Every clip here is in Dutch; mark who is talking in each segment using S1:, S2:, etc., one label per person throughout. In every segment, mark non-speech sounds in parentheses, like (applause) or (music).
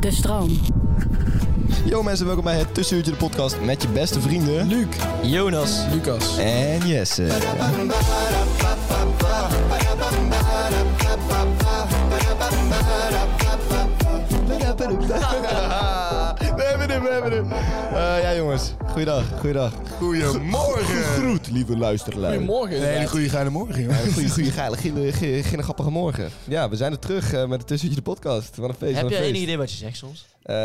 S1: De stroom.
S2: Yo mensen, welkom bij het Tussenuurtje de podcast met je beste vrienden... Luc, Jonas
S3: Lucas.
S2: en Jesse. (laughs) We hebben hem, we hebben hem. Eh, ja jongens, goeiedag, goeiedag.
S3: Goedemorgen.
S2: Groet, lieve luisteraars.
S3: Een hele goede geile morgen, joh.
S2: (laughs)
S3: (laughs)
S2: Goeie, goeie, geile, gille, gille, gille grappige morgen. Ja, we zijn er terug eh, met het Tussenuurtje de podcast. Wat een feest,
S4: Heb
S2: wat
S4: je
S2: een feest.
S4: enig idee wat je zegt soms?
S2: Eh,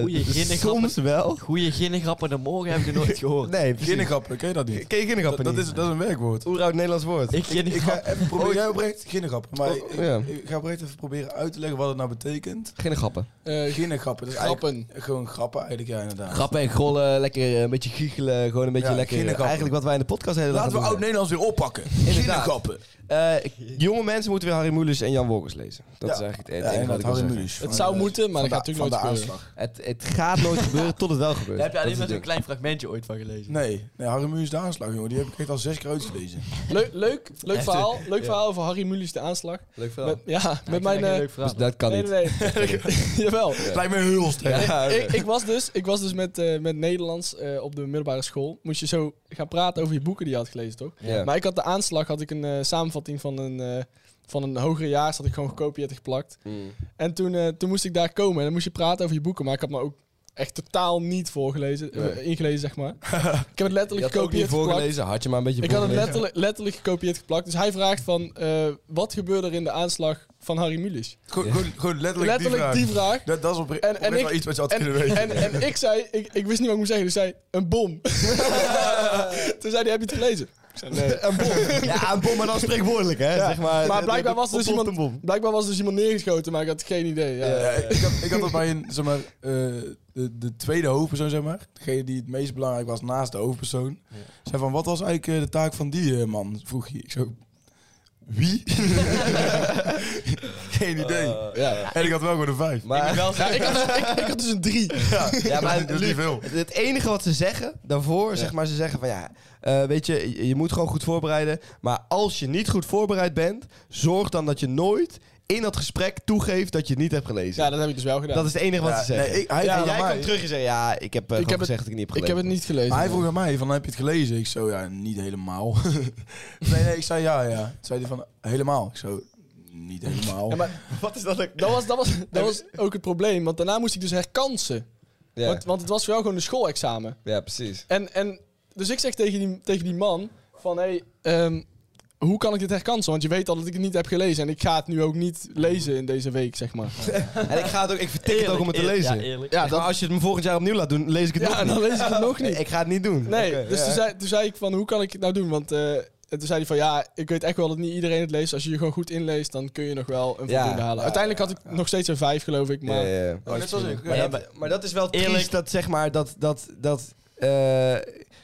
S4: Goeie gille
S2: soms
S4: grappen.
S2: wel.
S4: Goeie ginnegrappen, dan morgen heb ik er
S2: (laughs)
S4: nooit gehoord.
S2: Nee, precies.
S3: Ginnegrappen, ken je dat niet?
S2: Ken je kindergrappen
S3: Dat
S2: niet?
S3: is, dat is een werkwoord.
S2: oeroud Nederlands woord.
S4: Ik
S3: Ik ga
S4: ginnegrap.
S3: even proberen, jij oprecht, ginnegrappen. Maar ik,
S2: Oh, ja.
S3: ik ga oprecht even proberen uit te leggen wat het nou betekent.
S2: Geen grappen.
S3: Eh ginnegrappen. Dat is
S5: Grappen.
S3: eigenlijk Gewoon grappen eigenlijk, ja inderdaad.
S2: Grappen en grollen, lekker eh, een beetje giechelen, gewoon een beetje
S3: Ja,
S2: lekker. eh,
S3: ginnegrappen.
S2: Eigenlijk wat wij in de podcast de hele dag
S3: Laten we
S2: doen.
S3: oud-Nederlands weer oppakken. Ginnegrappen.
S2: Eh, ik- jonge mensen moeten weer Harry Moelis en Jan Wolkers lezen. Dat
S3: Ja.
S2: is eigenlijk het
S3: Ja,
S2: enige wat
S3: inderdaad,
S2: ik wil
S3: Harry
S2: zeggen.
S3: Mulisch.
S5: Het zou moeten, maar dat gaat natuurlijk nooit
S3: van de
S5: gebeuren.
S3: aanslag.
S2: Het, het gaat nooit gebeuren tot het wel gebeurt.
S4: Daar (laughs) heb je
S2: Dat
S4: alleen
S2: is
S4: maar zo'n
S2: het ding.
S4: klein fragmentje ooit van gelezen.
S3: Nee, nee, Harry Mulisch de aanslag, jongen. Die heb ik echt al zes keer uitgelezen.
S5: Leuk, leuk, leuk
S4: Echt,
S5: verhaal.
S4: hè?
S5: Leuk
S4: Ja.
S5: verhaal over Harry Mulisch, de aanslag.
S2: Leuk verhaal.
S5: Met, ja,
S4: Ik
S5: met
S4: vind
S5: mijn...
S4: dat een
S5: eh,
S4: leuk verhaal.
S2: Dus dat kan
S5: nee,
S2: niet.
S5: nee, nee. (laughs) Jawel.
S3: Het lijkt me heel
S2: (laughs)
S3: sterk.
S2: Ja,
S5: Ik, ik was dus, ik was dus met, eh, met Nederlands eh, op de middelbare school. Moest je zo gaan praten over je boeken die je had gelezen, toch?
S2: Ja.
S5: Maar ik had de aanslag, had ik een eh, samenvatting van een, eh, van een hogere jaar. Had ik gewoon gekopieerd en geplakt. En toen, eh, toen moest ik daar komen en dan moest je praten over je boeken. Maar ik had me ook echt totaal niet voorgelezen, eh,
S2: Nee.
S5: ingelezen,
S2: (laughs)
S5: zeg maar. ik heb het
S2: je had
S5: letterlijk
S2: ook niet
S5: gekopieerd geplakt.
S2: voorgelezen, had je maar een beetje
S5: Ik had het
S2: voorgelezen.
S5: letterlijk, letterlijk gekopieerd geplakt. Dus hij vraagt van, eh, wat gebeurde er in de aanslag van Harry Mulisch?
S3: Goed, letterlijk,
S5: Letterlijk die vraag.
S3: Dat, dat is op,
S5: En, en, ik,
S3: wel iets wat je had kunnen
S5: en,
S3: weten.
S5: en, en ik zei, ik, ik wist niet wat ik moest zeggen, dus zei, een bom. Toen zei hij, heb je het gelezen? Ik zei, nee.
S2: Ja, een bom, maar dan spreekwoordelijk, hè. Zeg maar,
S5: Maar blijkbaar was, er dus
S2: Ontploft een
S5: iemand,
S2: bom.
S5: blijkbaar was er dus iemand neergeschoten, maar ik had geen idee. Ja.
S3: Ja, Eh, ik, had, ik had dat bij een, zeg maar, eh, de, de tweede hoofdpersoon, zeg maar. Degene die het meest belangrijk was naast de hoofdpersoon. Zei van, wat was eigenlijk eh, de taak van die eh, man? Vroeg je. Ik zo, wie? (laughs) Geen idee.
S2: Ja,
S3: en ik had wel gewoon een vijf.
S2: maar...
S5: Ja, ik, had dus, ik, ik had dus een
S3: (laughs)
S5: drie.
S3: ja,
S2: Ja, maar
S3: dat is niet
S2: Luc,
S3: veel.
S2: Het, het enige wat ze zeggen daarvoor, zeg maar, ze zeggen van ja, eh, weet je, je- je moet gewoon goed voorbereiden. Maar als je niet goed voorbereid bent, zorg dan dat je nooit in dat gesprek toegeeft dat je het niet hebt gelezen.
S5: Ja, dat heb ik dus wel gedaan.
S2: dat is het enige wat
S3: Ja,
S2: ze zeggen.
S3: nee, ik- hij-
S2: en
S3: ja,
S2: jij
S3: maar-
S2: komt terug en zegt ja, ik heb, eh, gewoon
S5: heb het-
S2: gezegd dat ik het niet heb
S5: ik heb
S2: gelezen.
S5: het niet gelezen.
S3: Maar hij vroeg aan mij, van, heb je het gelezen? Ik zo, ja, niet helemaal. (laughs) nee, nee, ik zei ja, ja. Toen zei hij van, helemaal. Ik zo, niet helemaal.
S5: Ja, maar wat is dat? Dat was, dat,
S2: (laughs)
S5: was, dat was ook het probleem, want daarna moest ik dus herkansen.
S2: Ja,
S5: Want, want het was wel gewoon een schoolexamen.
S2: ja, precies.
S5: En, en dus ik zeg tegen die, tegen die man van, hé, hey, ehm, hoe kan ik dit herkansen? Want je weet al dat ik het niet heb gelezen en ik ga het nu ook niet lezen in deze week,
S2: (laughs)
S5: zeg maar.
S2: En ik ga het ook, Ah, ik vertik het ook om het te
S4: eerlijk,
S2: lezen.
S4: Ja, eerlijk.
S2: Zeg maar, als je het me volgend jaar opnieuw laat doen, lees ik het
S5: Ja,
S2: nog
S5: en dan
S2: niet.
S5: lees ik het nog niet.
S2: Ik ga het niet doen.
S5: (laughs) Nee,
S2: Oké,
S5: dus
S2: ja.
S5: toen zei, toen zei ik van, hoe kan ik het nou doen? Want eh, en toen zei hij van, ja, ik weet echt wel dat niet iedereen het leest. Als je je gewoon goed inleest, dan kun je nog wel een
S2: Ja,
S5: voldoende halen. Uiteindelijk had ik nog steeds een vijf, geloof ik. Maar
S2: Ja, ja, ja.
S3: Oh, net zoals ik.
S2: Maar,
S3: Ja,
S2: dat- maar, dat is wel
S4: Eerlijk.
S2: triest dat zeg maar dat dat dat eh,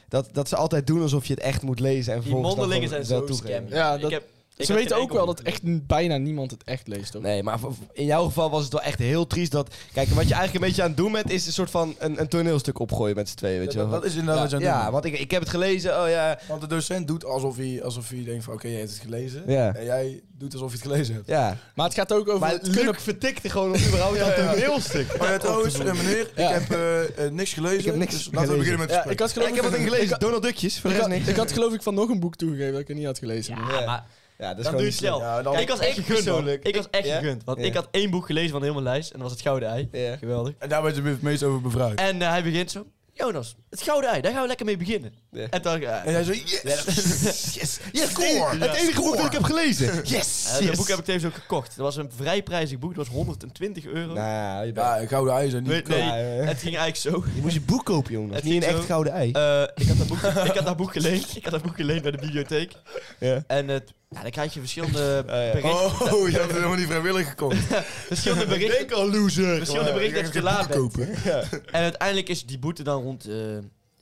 S2: dat dat ze altijd doen alsof je het echt moet lezen en
S4: Die
S2: vervolgens dan
S4: mondelingen zijn
S2: gewoon
S4: zo
S2: wel toegeven.
S4: scam.
S5: Ja, dat-
S4: ik
S5: ze
S4: heb
S5: weten
S4: geen
S5: ook wel
S4: enkel-
S5: dat echt n- bijna niemand het echt leest, toch?
S2: Nee, maar v- v- in jouw geval was het wel echt heel triest dat kijk wat je eigenlijk een beetje aan het doen bent is een soort van een, een toneelstuk opgooien met z'n tweeën, weet je wel?
S3: dat, dat is inderdaad wat je aan het doen
S2: ja,
S3: bent.
S2: want ik, ik heb het gelezen. Oh ja.
S3: Want de docent doet alsof hij, alsof hij denkt van oké, jij hebt het gelezen.
S2: Ja.
S3: En jij doet alsof je het gelezen hebt.
S2: Ja.
S5: Maar het gaat ook over...
S2: Maar
S5: het kunnen-
S2: Luc vertikte gewoon op überhaupt dat toneelstuk.
S3: Maar ja, trouwens, eh, meneer,
S5: Ja.
S3: ik heb eh, eh, niks gelezen.
S2: Ik heb niks
S3: dus laten we
S2: gelezen.
S3: beginnen met het
S5: ja,
S3: gesprek.
S5: ik had geloof
S2: Ik heb wat in
S5: ik-
S2: gelezen. Donald Duckjes. Voor de
S5: Ik
S2: rest
S5: had,
S2: niks.
S5: ik had geloof ik van nog een boek toegegeven dat ik het niet had gelezen.
S4: Ja, maar
S2: Ja, dat is
S4: Dan
S2: gewoon
S4: doe je
S2: niet
S4: het zelf.
S2: slim. Ja, dan-
S4: Kijk, ik was echt gegund, man.
S2: persoonlijk.
S4: Ik was echt
S2: Ja?
S4: gegund. Want
S2: Ja.
S4: ik had één boek gelezen van de hele lijst. En dat was Het Gouden Ei.
S2: Ja.
S4: Geweldig.
S3: En daar werd je het meest over bevraagd.
S4: En eh, hij begint zo. Jonas, het gouden ei, daar gaan we lekker mee beginnen.
S2: Ja.
S4: En dan... eh,
S3: En jij zo, (laughs) yes!
S2: Yes, yes,
S3: score!
S2: Het enige boek dat ik heb gelezen. Yes,
S4: eh, dat boek heb ik tevens ook gekocht. Dat was een vrij prijzig boek, dat was 120 euro.
S2: Nou, je, bent-
S3: Ja, gouden eieren zijn
S4: Nee,
S3: niet
S4: nee,
S3: koop.
S2: eh.
S4: het ging eigenlijk zo.
S2: je moest je boek kopen, jongen.
S4: Het
S2: niet
S4: ging
S2: een echt
S4: zo-
S2: gouden ei.
S4: Eh, ik, had dat boek, ik had dat boek
S2: (laughs)
S4: geleend. Ik had dat boek geleend bij de bibliotheek.
S2: Ja.
S4: En het, ja, dan krijg je
S2: (laughs)
S4: verschillende
S2: ja.
S4: berichten.
S3: Oh, je hebt het helemaal niet vrijwillig gekocht.
S2: (laughs)
S4: Verschillende berichten.
S2: Denk al, loser.
S4: Verschillende berichten dat je te laat bent. (laughs)
S3: Kopen.
S4: En uiteindelijk is die boete dan rond eh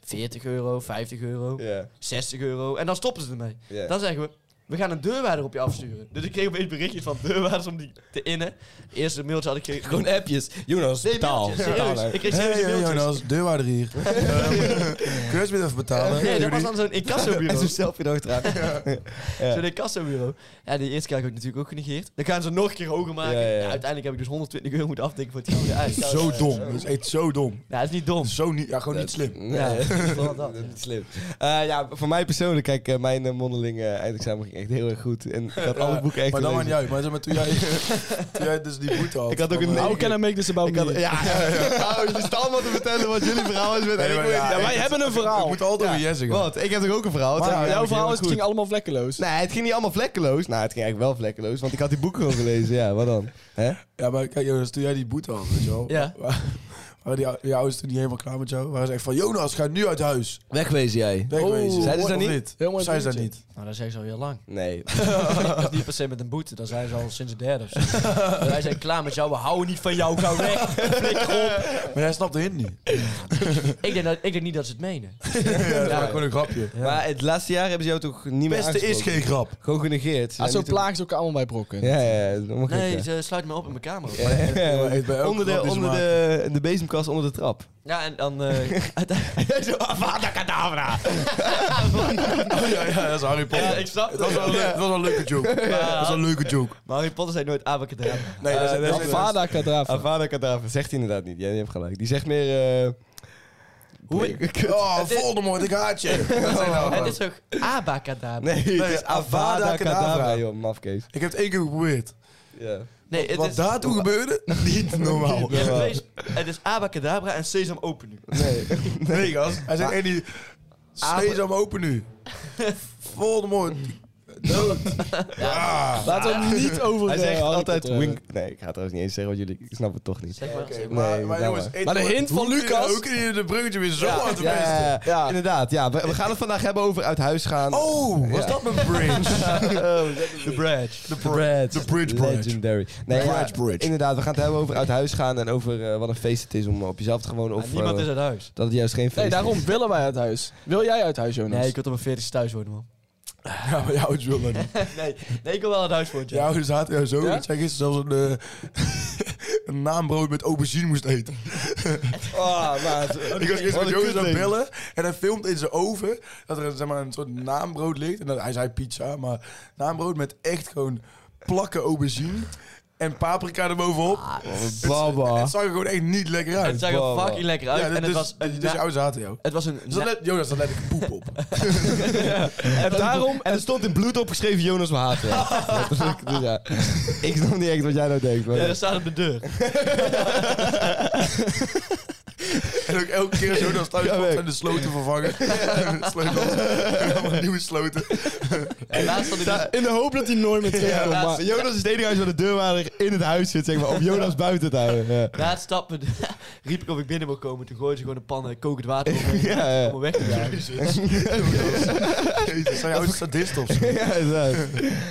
S4: 40 euro, 50 euro,
S2: Ja,
S4: 60 euro. En dan stoppen ze ermee.
S2: ja.
S4: Dan zeggen we, we gaan een deurwaarder op je afsturen. Dus ik kreeg opeens berichtjes van deurwaarders om die te innen. De eerste mailtje had ik gekregen.
S2: Gewoon appjes. Jonas,
S4: Nee,
S2: taal.
S4: mailtjes, serieus. Ik kreeg
S3: Hey,
S4: serieuze
S3: hey,
S4: mailtjes.
S3: Jonas, deurwaarder hier. Ehm, Kun je weer even betalen?
S4: Nee, dat was
S3: Jullie-
S2: (laughs)
S4: dan zo'n
S2: En
S4: incassobureau.
S2: zo'n selfie erachteraan. Ja.
S4: Zo'n incassobureau. Ja, die eerste keer heb ik natuurlijk ook genegeerd. Dan gaan ze nog een keer hoger
S2: Ja,
S4: maken.
S2: ja, ja.
S4: Ja, uiteindelijk heb ik dus 120 euro moeten afdenken voor het gouden
S2: (laughs)
S4: ei.
S3: Zo dom. Dat is echt zo dom.
S4: Ja, dat is niet dom.
S3: Zo niet, ja, gewoon niet slim.
S2: Nee,
S4: Ja,
S2: dat is (laughs)
S4: vooral dat,
S2: niet slim. Eh, ja, voor mij persoonlijk, kijk, eh, mijn eh, mondeling eh, eindexamen ging echt heel erg goed. En ik had alle boeken echt
S3: Eh, Maar dan maar
S2: gelezen.
S3: niet uit. Maar zeg maar, toen jij, toen jij dus die boete had.
S2: Ik had ook een
S3: van, eh,
S5: How can I make this about
S2: Ik had,
S4: (laughs)
S5: me?
S2: ja, ja, ja. (laughs) Nou, jullie staan allemaal te vertellen wat jullie verhaal is met
S3: Nee,
S2: en ik
S3: maar
S2: weet- ja,
S3: ja, ik-
S2: wij
S5: Wij hebben een
S3: Ik
S5: verhaal.
S3: moet altijd weer yes zeggen.
S2: Wat? Ik heb toch ook een verhaal? Het
S3: Maar
S2: ging-
S3: ja,
S5: Jouw
S2: het ging
S5: verhaal is,
S2: heel
S5: het ging
S2: goed.
S5: allemaal vlekkeloos.
S2: Nee, het ging niet allemaal vlekkeloos. Nou, het ging eigenlijk wel vlekkeloos, want ik had die boeken gewoon gelezen. Ja, wat dan? Hè?
S3: Ja, maar kijk Jonas, toen jij die boete had, weet je wel.
S4: Ja.
S3: wa- Waren die, ou- die ouders toen niet helemaal klaar met jou? Waren ze echt van, Jonas, ga nu uit huis.
S2: Wegwezen jij?
S3: Wegwezen.
S2: Oh. Zeiden ze dat
S3: Of
S2: niet?
S5: Heel mooi
S3: Zeiden ze dat
S5: bruggetje.
S3: niet.
S4: Nou, dan zijn ze al heel
S2: (laughs)
S4: lang.
S2: Nee.
S4: Dat is niet per se met een boete, dan zijn ze al sinds de derde of
S2: (laughs)
S4: zo. Wij zijn klaar met jou, we houden niet van jou, gauw weg. Flikker op.
S3: Maar jij snapt de hint niet.
S4: (laughs) Ik denk, dat, ik denk niet dat ze het menen.
S3: Ja, dat was gewoon een grapje.
S2: Maar het laatste jaar hebben ze jou toch niet meer
S3: Beste is
S2: aangesproken?
S3: geen grap.
S2: Gewoon genegeerd. Ze
S5: Ah,
S2: zijn
S5: zo
S2: niet toe-
S5: plagen ze ook allemaal bij brokken.
S2: Ja, ja, ja. dat mag
S4: Nee,
S2: niet,
S4: ze sluiten me op in mijn kamer.
S2: hè. Ja,
S3: maar ik ben ook
S2: onder de,
S3: grap die ze
S2: onder de, de bezemkast, onder de trap.
S4: Ja, en dan... eh, (laughs)
S2: (laughs) zo, ah, avada kedavra.
S3: Oh, (laughs) ja, ja, dat is Harry Potter.
S4: Ja, ik snap
S3: het. Was
S4: het.
S3: wel, een le- het was wel een leuke joke. Het was wel een leuke joke.
S4: maar Harry Potter zei nooit abacadabra.
S3: Nee,
S2: Eh, dat is- dat is-
S5: Avada Kedavra.
S2: Avada kedavra zegt hij inderdaad niet. Jij hebt gelijk. Die zegt meer... eh, (laughs)
S4: Hoe-
S2: nee, kut.
S3: Oh, Voldemort, ik haat je. Dat zijn nou
S4: Het
S3: gewoon-
S4: is toch abacadabra?
S2: Nee, het is
S3: Avada
S2: Avada kedavra,
S3: Kedavra.
S2: joh. Mafkees.
S3: Oh. Ik heb het één keer geprobeerd.
S2: Ja.
S4: Nee, het
S3: Wat
S4: is...
S3: daar toen gebeurde, niet normaal.
S4: Je hebt twee- (laughs) Het is abacadabra en sesam open nu.
S2: (laughs) Nee.
S3: (laughs) Nee, gast. Hij zei, Andy, sesam open nu. Voldemort, dood. Ah. Ja.
S5: Laten we het niet over
S2: Hij
S5: de
S2: zegt
S5: Harry
S2: altijd
S5: Potter hebben.
S2: wink... Nee, ik ga het trouwens niet eens zeggen, want jullie ik snap het toch niet.
S4: Zeg maar. zeg maar.
S3: Maar,
S2: Nee,
S3: maar
S2: nou
S3: jongens,
S2: maar.
S3: eet
S5: Maar de
S3: toch-
S5: hint van
S3: hoe kun je-
S5: Lucas-
S3: Hoe kun je de bruggetje weer zo aan de
S2: Ja,
S3: beste?
S2: ja,
S5: Ja.
S2: inderdaad. Ja, we, we gaan het vandaag hebben over uit huis gaan.
S3: Oh, was
S2: Ja.
S3: dat mijn (laughs) bridge?
S4: De bridge.
S2: The Bridge.
S3: The Bridge Bridge.
S2: Legendary. Nee,
S3: The
S2: ja,
S3: Bridge Bridge.
S2: Inderdaad, we gaan het hebben over uit huis gaan en over eh, wat een feest het is om op jezelf te gewoon
S4: Maar
S2: of
S4: niemand
S2: eh,
S4: is uit huis.
S2: dat het juist geen feest
S5: Nee,
S2: is.
S5: daarom willen wij uit huis. Wil jij uit huis, Jonas?
S4: Nee, ik wil op mijn 40ste thuis worden, man.
S3: (laughs) Ja, maar jouw ouders wil dat niet.
S4: (laughs) Nee, nee ik wil wel uit huis worden.
S3: Jouw
S4: Ja.
S3: ouders haten jou zo
S5: Ja?
S3: dat jij gisteren zelfs een, eh, (laughs) een naambrood met aubergine moest eten. (laughs)
S2: Oh,
S4: (laughs)
S2: maat.
S3: Ik was gisteren
S2: Wat
S3: met
S2: een
S3: Jonas aan het
S2: kutding.
S3: bellen en hij filmt in zijn oven dat er een, zeg maar, een soort naambrood ligt. En dat, hij zei pizza, maar naambrood met echt gewoon plakken aubergine en paprika erbovenop.
S2: Baba.
S3: Het zag er gewoon echt niet lekker uit.
S4: Het zag er
S2: Wow.
S4: fucking lekker uit.
S3: Ja,
S4: en het
S3: dus,
S4: was een...
S3: dus
S4: na-
S3: jouw ouders haten jou.
S4: het was een...
S3: Dus dan let, Jonas, dan let ik poep op.
S2: En daarom... En er stond in bloed opgeschreven Jonas we haten. jou. (laughs) Letterlijk, dus ja. Ik snap niet echt wat jij nou denkt. Maar...
S4: Ja, dat staat op de
S3: (laughs)
S4: deur.
S3: En ook elke keer als Jonas thuis
S2: Ja,
S3: komt,
S2: weg.
S3: zijn de sloten vervangen. Sleutels. Allemaal nieuwe sloten.
S4: En laatst had ik dus-
S5: In de hoop dat hij nooit meer terugkomt.
S4: Ja,
S5: maar...
S2: Jonas is het enige huis waar de deurwaarder in het huis zit, zeg maar, om Jonas buiten te houden. Ja.
S4: Na het stappen (laughs) riep ik of ik binnen wil komen. Toen gooiden ze gewoon een pan eh, kokend
S3: (laughs)
S4: water op me
S2: Ja, ja.
S4: om me weg te jagen.
S3: Jezus, zijn jouw ouders sadist of zo?
S2: Ja, inderdaad.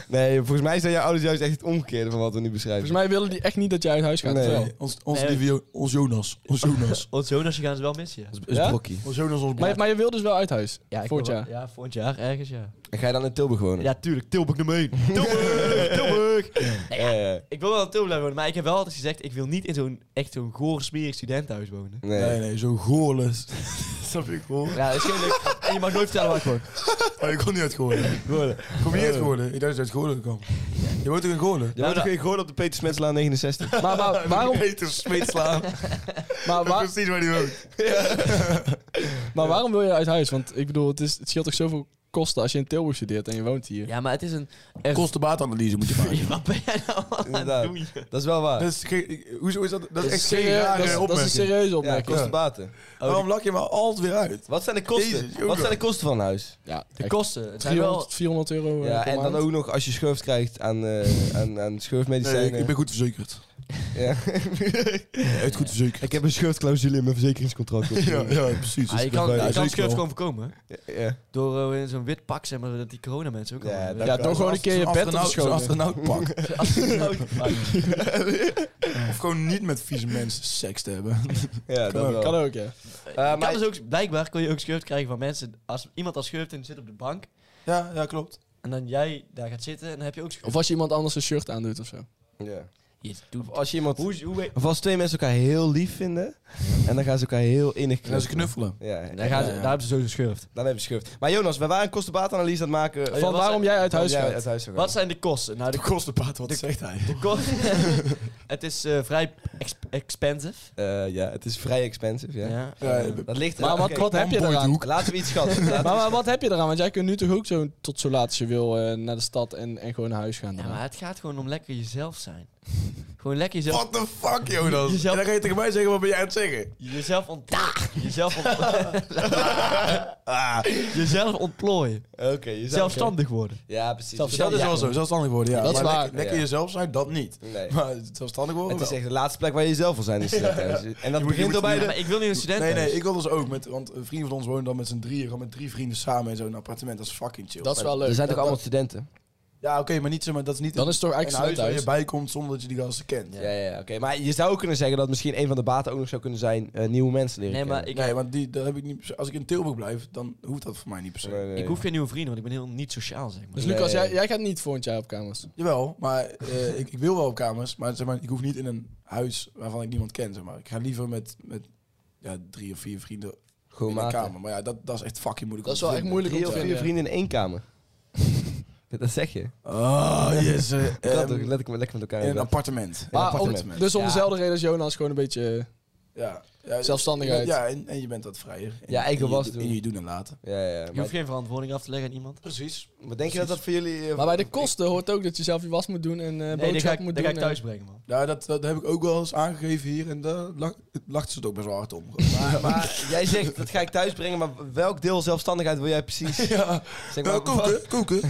S2: Nee, volgens mij zijn jouw ouders juist echt het omgekeerde van wat we nu beschrijven.
S5: Volgens mij willen die echt niet dat jij uit huis gaat.
S2: Nee.
S5: Terwijl-
S2: Nee.
S3: Ons, ons,
S4: Nee.
S3: lieve Jo- ons Jonas. Ons
S4: (laughs)
S3: Jonas.
S4: Ons Jonas gaan ze wel missen, ja.
S2: is
S5: Ja?
S2: brokkie.
S3: Ons Jonas, ons
S5: Maar, maar je wil dus wel uit huis?
S4: Ja, ik
S5: Volgend
S4: wil
S5: jaar.
S4: wel- Ja, volgend jaar ergens, ja.
S2: En ga je dan in Tilburg wonen?
S4: Ja, tuurlijk. Tilburg nummer 1. Tilburg! Tilburg!
S2: Ja, ja.
S4: (laughs) Ik wil wel in Tilburg blijven wonen, maar ik heb wel altijd gezegd... ik wil niet in zo'n echt zo'n goor, smerig studentenhuis wonen.
S2: Nee.
S3: Nee, nee, zo'n goorlust. Snap je, goor?
S4: Ja, dat is geen leuk. (laughs) En je mag nooit vertellen waar ik woon.
S3: Oh, je kon niet uit Goorlen. Kom je uit Goorlen? Ik dacht dat je uit Goorlen kwam. Je woont ook in Goorlen?
S2: Je wordt
S4: dat-
S2: toch geen gehoord op de Peter Smetslaan 69?
S5: Maar, (laughs) maar waarom,
S3: Peter Smeetslaan.
S2: (laughs)
S5: maar, waar-
S3: Precies waar die woont.
S5: maar waarom wil je uit huis? Want ik bedoel, het, is, het scheelt toch zoveel kosten als je in Tilburg studeert en je woont hier.
S4: Ja, maar het is een... echt-
S3: Kostenbaatanalyse moet je maken.
S4: (laughs) Wat ben jij nou aan
S2: Inderdaad.
S4: het doen? joh?
S2: Dat is wel waar.
S3: Dat is, geen- hoezo is dat? Dat is echt geen
S5: serieus-
S3: rare
S5: dat, is, dat is een
S3: opmerking.
S5: serieuze
S2: ja,
S5: opmerking.
S2: kosten
S5: Ja,
S2: baten.
S3: Waarom lak je me altijd weer uit?
S2: Wat zijn de
S3: Jezus,
S2: kosten?
S3: jongen.
S2: Wat zijn de kosten van een huis?
S4: De
S5: echt
S4: kosten. Het zijn wel...
S5: 300, 400 euro. eh,
S2: Ja,
S5: per
S2: en dan
S5: maand.
S2: ook nog als je schurft krijgt aan, eh, aan, aan
S3: Nee,
S2: schurfmedicijnen.
S3: ik ben goed verzekerd.
S2: Ja.
S3: Echt goed verzekerd.
S2: ik heb een schurftclausule in mijn verzekeringscontract.
S3: (laughs) ja, ja, precies.
S4: Ah, je
S3: Dus
S4: kan,
S3: dat-
S4: je
S3: ja, zeker
S4: kan schurft
S3: wel.
S4: gewoon voorkomen. hè?
S2: ja.
S4: Door eh, in zo'n wit pak, zeg maar, dat die coronamensen ook
S2: Ja,
S4: allemaal-
S2: dat
S5: Ja, toch gewoon een keer je
S3: Zo'n
S5: bed
S3: astronaut- zo'n
S5: opschonen.
S3: astronautpak.
S4: Als je nou-
S3: (laughs) Of gewoon niet met vieze mensen seks te hebben.
S2: ja, dat
S3: Kan
S2: wel. Eh,
S5: Kan ook, ja.
S4: Je
S2: maar-
S4: kan dus ook, blijkbaar kon je ook schurft krijgen van mensen. Als iemand als schurft en zit op de bank.
S3: Ja, ja klopt.
S4: En dan jij daar gaat zitten en dan heb je ook schurft.
S5: Of als je iemand anders een shirt aandoet of zo.
S2: Ja.
S4: Je doet-
S2: Of als je iemand...
S4: Hoe, hoe,
S2: Of als twee mensen elkaar heel lief vinden. En dan gaan ze elkaar heel innig
S3: En ze knuffelen.
S2: Ja,
S4: daar, gaan ze, daar hebben ze sowieso schurft.
S2: dan hebben ze schurft. Maar Jonas, we waren een kostenbaatanalyse aan het maken.
S4: ja,
S2: van
S5: Van
S4: wat
S5: waarom jij uit huis
S2: jij
S5: gaat.
S2: uit huis zou gaan.
S4: Wat zijn de kosten? Nou, de,
S3: kostenpaard, wat
S4: De-
S3: zegt hij?
S4: de kosten... (laughs) het is eh, vrij ex- expensive.
S2: Eh, ja, het is vrij expensive, ja.
S4: Ja.
S3: Ja,
S4: Eh,
S3: ja,
S2: Dat ligt er
S5: Maar wat,
S2: oké.
S5: wat heb je
S3: One point
S5: eraan?
S3: hoek.
S2: Laten we iets
S5: (laughs)
S2: schatten. Laten we-
S5: Maar, maar wat heb je eraan? Want jij kunt nu toch ook zo tot zo laat als je wil eh, naar de stad en, en gewoon naar huis gaan.
S4: ja,
S5: daarna.
S4: maar het gaat gewoon om lekker jezelf zijn. gewoon lekker jezelf...
S3: What the fuck, Jonas?
S4: Jezelf-
S3: En dan ga je tegen mij zeggen, wat ben jij aan het zeggen?
S4: Jezelf ontplooien. Jezelf, ont-
S3: Ah,
S4: jezelf ontplooien.
S2: Oké, jezelf-
S4: Zelfstandig worden.
S2: Ja, precies.
S3: Dus dat is wel zo, zelfstandig worden, ja.
S5: Dat is
S3: Maar
S5: waar.
S3: Lekker, lekker
S2: Ja.
S3: jezelf zijn, dat niet.
S2: Nee.
S3: Maar zelfstandig worden
S2: Het is
S3: wel.
S2: echt de laatste plek waar je zelf wil zijn. Is het thuis. en dat
S3: je
S2: begint
S3: moet-
S2: al bij
S3: je
S2: de...
S4: maar ik wil niet een student
S3: Nee, nee,
S4: thuis.
S3: ik wil dus ook. Met, want een vriend van ons woont dan met z'n drieën. Gewoon met drie vrienden samen in zo'n appartement. Dat is fucking chill.
S5: Dat is wel leuk.
S2: Er zijn toch
S5: Dat-
S2: allemaal studenten?
S3: Ja, oké, maar niet zo, maar dat is niet
S5: Dan is het toch
S3: een
S5: eigenlijk
S3: huis
S5: snel
S3: waar je
S5: thuis.
S3: bij komt zonder dat je die gasten kent.
S2: Ja, ja, ja, oké. Maar je zou ook kunnen zeggen dat misschien een van de baten ook nog zou kunnen zijn eh, nieuwe mensen leren
S4: Nee, maar
S2: kennen.
S4: ik,
S3: nee, want die, dat heb ik niet, als ik in Tilburg blijf, dan hoeft dat voor mij niet per se.
S2: Nee, nee,
S4: ik hoef geen nieuwe vrienden, want ik ben heel niet sociaal, zeg maar.
S5: Dus Lucas,
S2: Nee.
S5: jij, jij gaat niet volgend jaar op kamers.
S3: Jawel, maar eh, ik, ik wil wel op kamers, maar, zeg maar ik hoef niet in een huis waarvan ik niemand ken. Zeg maar. Ik ga liever met, met ja, drie of vier vrienden
S2: Gewoon
S3: in een
S2: maten.
S3: kamer. Maar ja, dat, dat is echt fucking moeilijk.
S5: Dat is
S3: om
S5: wel
S3: te
S5: echt moeilijk om
S2: Drie
S5: te
S2: of vier
S5: vinden.
S2: vrienden in één (laughs) kamer. dat zeg je.
S3: vinden. Oh, yes.
S5: (laughs)
S3: eh,
S2: Dat
S3: ehm,
S2: um, let ik me lekker met elkaar in
S3: in een
S2: bed.
S3: appartement.
S5: Maar
S3: in een
S5: om-
S3: appartement.
S5: dus om
S2: Ja.
S5: dezelfde reden als Jonas, gewoon een beetje... eh,
S3: ja. Ja, dus-
S5: Zelfstandigheid.
S3: Ja, en, en je bent wat vrijer. En
S2: Ja, ik
S3: en je-
S2: was
S3: en
S2: doen.
S3: je doen en laten.
S2: Ja, ja.
S4: Je
S2: Maar,
S4: hoeft geen verantwoording af te leggen aan iemand.
S3: Precies.
S2: maar denk je dat dat voor jullie... eh,
S5: Maar bij de kosten hoort ook dat je zelf je was moet doen en eh
S4: Nee, dat ga,
S5: boodschappen
S4: ik,
S5: moet
S4: dat
S5: doen.
S4: ga ik
S5: en-
S4: thuis brengen, man.
S3: Ja, dat, dat heb ik ook wel eens aangegeven hier. En daar lach- lachten ze het ook best wel hard om. Maar,
S2: maar jij zegt, dat ga ik thuis brengen, maar welk deel zelfstandigheid wil jij precies?
S3: (laughs) ja,
S2: Zeg
S3: nou, koeken, koeken.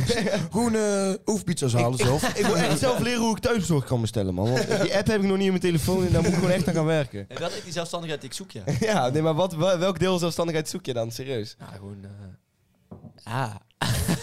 S3: Groene eh, oefpizza's halen zelf.
S2: (laughs) Ik wil echt zelf leren hoe ik thuiszorg kan bestellen, man. Want die app heb ik nog niet in mijn telefoon en daar moet ik gewoon echt aan gaan werken. (laughs)
S4: En dat is die zelfstandigheid die ik zoek, ja.
S2: Ja, nee, maar wat, wel- welk deel zelfstandigheid zoek je dan, serieus?
S4: Nou, gewoon... eh, (laughs) ah.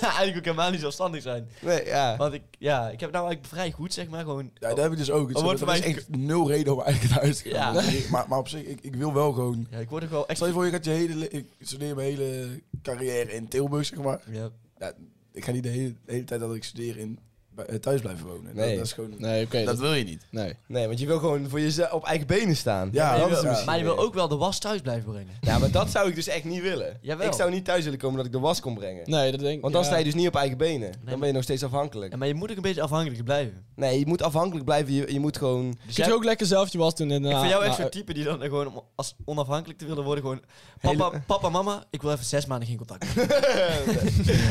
S4: eigenlijk ook helemaal niet zelfstandig zijn.
S2: Nee, ja.
S4: Want ik, ja, ik heb het nou eigenlijk vrij goed, zeg maar. Gewoon,
S3: Ja, dat heb ik dus ook.
S4: Dan wordt
S3: Er is
S4: voor mij-
S3: echt nul reden om eigenlijk naar huis te gaan.
S4: Ja.
S3: Nee, Maar, maar op zich, ik, ik wil wel gewoon...
S4: ja, ik word ook wel echt...
S3: Stel je voor, je gaat je hele, le- ik studeer mijn hele carrière in Tilburg, zeg maar.
S4: Ja.
S3: Ik ga niet de hele, de hele tijd dat ik studeer in, bij- eh, thuis blijven wonen.
S2: Nee.
S3: Dat, dat is gewoon...
S5: Nee, oké.
S3: Dat
S5: dat-
S3: wil je niet.
S5: nee.
S2: Nee, want je wil gewoon voor jezelf op eigen benen staan.
S3: Ja,
S4: Maar je
S3: dat is
S4: wil-
S3: misschien.
S4: maar je wil ook wel de was thuis blijven brengen.
S2: Ja, maar dat zou ik dus echt niet willen.
S4: Jawel.
S2: Ik zou niet thuis willen komen dat ik de was kon brengen.
S5: Nee, dat denk ik.
S2: Want dan
S5: ja.
S2: sta je dus niet op eigen benen.
S4: maar-
S2: Dan ben je nog steeds afhankelijk.
S4: Ja, maar je moet ook een beetje afhankelijk blijven.
S2: Nee, je moet afhankelijk blijven. Je, je moet gewoon...
S4: Dus
S5: Kun
S4: jij,
S5: je ook lekker zelf je was doen en
S4: ik
S5: daarna...
S4: vind jou echt
S5: nou,
S4: zo'n type die dan gewoon, om als onafhankelijk te willen worden, gewoon... Papa, papa mama, ik wil even zes maanden geen
S2: (laughs)
S4: contact.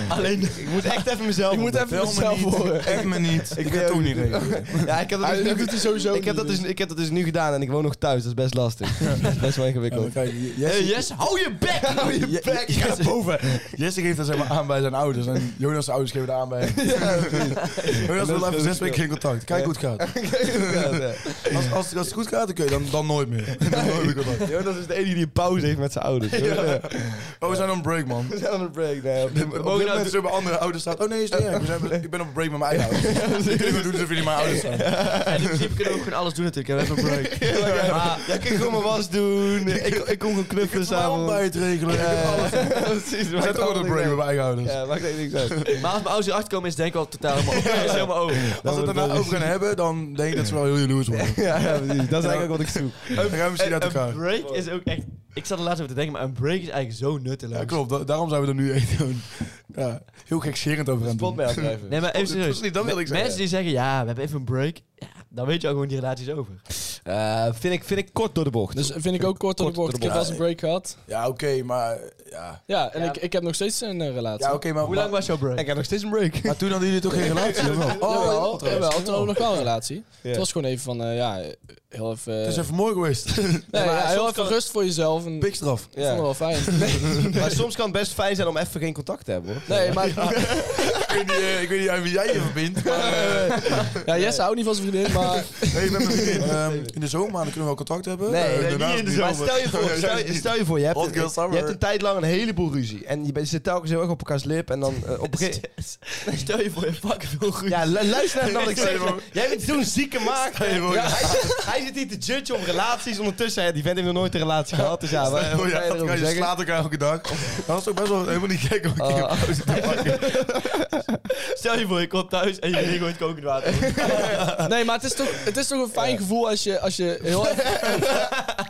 S2: Alleen, (laughs) ik moet echt even mezelf...
S5: Ik moet
S2: op-
S5: even mezelf horen.
S3: Echt me niet. Ik
S2: wil
S3: ga het ook
S2: ook
S3: niet
S2: niet.
S3: regelen.
S2: Ja, ik heb dat,
S5: Hij-
S2: dus
S5: dat
S2: nu,
S5: doet hij sowieso
S2: ik heb
S5: niet,
S2: dat dus, ik heb dat dus nu gedaan en ik woon nog thuis. Dat is best lastig. Dat is best wel
S3: Ja, dan
S2: ingewikkeld.
S3: krijg je-
S4: Hey,
S3: Jesse,
S4: yes, hou je bek! hou je
S3: Je- je gaat boven. Jesse geeft dat zeg maar aan bij zijn ouders. En Jonas' ouders geven dat aan bij hem. Jonas wil even zes weken geen contact. Kijk hoe het gaat.
S2: Ja, nee.
S3: Als, als, als het goed gaat, oké, dan, dan nooit meer.
S2: (laughs)
S3: Dan nooit meer contact.
S2: Jonas is de enige die een pauze heeft met zijn ouders.
S4: (laughs)
S2: hoor. Ja.
S3: Oh, we zijn on break, man.
S2: We zijn aan het break. Nee, op dit- op dit
S3: Mogen nou
S2: moment-
S3: tussen mijn andere ouders staat. Oh nee, is niet erg. We zijn- Ik ben op break met mijn eigen ouders. Jullie doen alsof jullie mijn ouders
S2: (laughs)
S3: zijn.
S4: En in principe kunnen we ook gewoon alles doen natuurlijk. We hebben een break. Maar
S2: Jij kan gewoon mijn was doen.
S4: (laughs)
S2: Ik, ik kon gewoon knuffelen
S3: Samen
S2: samen.
S3: bij het regelen.
S2: Precies,
S3: We zijn toch wel op break met mijn eigen ouders.
S2: Ja, maakt echt niks uit.
S4: Maar als mijn ouders erachter komen, is het denk ik al totaal helemaal over. Is helemaal over.
S3: Als we het daarna over gaan hebben, dan denk ik dat ze wel heel jaloers worden.
S2: Ja, ja, precies. Dat is eigenlijk wat ik zoek.
S3: Dan gaan we misschien uit
S4: En
S3: elkaar.
S4: een break is ook echt... Ik zat er laatst over te denken, maar een break is eigenlijk zo nutteloos.
S3: Ja, klopt. Da- daarom zijn we er nu (laughs) echt gewoon, ja, heel gekscherend over aan het doen.
S2: Spot mij afdrijven.
S4: Nee, maar even serieus.
S3: Precies, dat wil ik
S4: Mensen
S3: zeggen.
S4: die zeggen, ja, we hebben even een break. Ja, dan weet je ook gewoon die relaties over.
S2: Eh, vind, ik, vind ik kort door de bocht.
S5: Dus vind ik ook kort door de bocht. Ik heb wel eens een break gehad.
S3: Ja, oké, maar... Ja,
S5: Ja, en
S4: Ja.
S5: Ik, ik heb nog steeds een eh, relatie.
S3: ja oké, maar...
S4: Hoe lang was jouw break?
S2: ik heb nog steeds een break.
S3: (laughs) Maar toen hadden jullie toch geen relatie? of wel?
S5: Jawel,
S3: trouwens.
S5: jawel, toen hadden we nog wel een relatie.
S2: Ja.
S5: Het was gewoon even van, eh, ja, heel even... eh,
S3: Het is even mooi geweest.
S5: nee,
S2: maar
S5: ja,
S2: soms
S5: heel
S2: kan
S5: even
S2: het-
S5: rust voor jezelf. En, ik
S3: Pikstraf.
S5: vond het wel fijn.
S2: (laughs) maar soms kan het best fijn zijn om even geen contact te hebben, hoor.
S5: (laughs) Nee, maar
S3: ik, weet niet, eh, ik weet niet aan wie jij je verbindt, maar... eh,
S5: ja, Jesse houdt niet van zijn vriendin, maar...
S3: nee, ik ben met mijn vriendin. Ehm, in de zomermaanden kunnen we wel contact hebben.
S2: Nee,
S3: Eh,
S2: nee,
S3: daarnaast
S2: niet in de zomer. Maar stel je
S3: (laughs)
S2: voor, stel, je- stel je, voor je, hebt,
S3: Hot girl
S2: je
S3: summer.
S2: hebt een tijd lang een heleboel ruzie. En je, bent- je zit telkens heel erg op elkaars lip. En dan eh,
S4: (laughs)
S2: op een gegeven
S4: Stel je voor, je pakt veel goed.
S2: Ja, lu- luister naar wat ik
S3: Stel je
S2: zeg.
S3: voor-
S2: Jij bent zo'n zieke maak.
S3: Stel je voor-
S2: Oh, hij, zit, hij zit hier te judgen op relaties. Ondertussen, hè, die vent heeft nog nooit een relatie gehad. Dus ja,
S3: Stel
S2: wat,
S3: je
S2: wat
S3: voor,
S2: kan je
S3: ja, dat
S2: erover
S3: kan je
S2: zeggen?
S3: slaat elkaar elke dag. Dat is toch best wel helemaal niet gek om een keer een pauze te pakken.
S4: Stel je voor, je komt thuis en je drinkt gewoon het kokend water.
S5: Nee, maar het is toch, het is toch een fijn gevoel als je, als je heel even...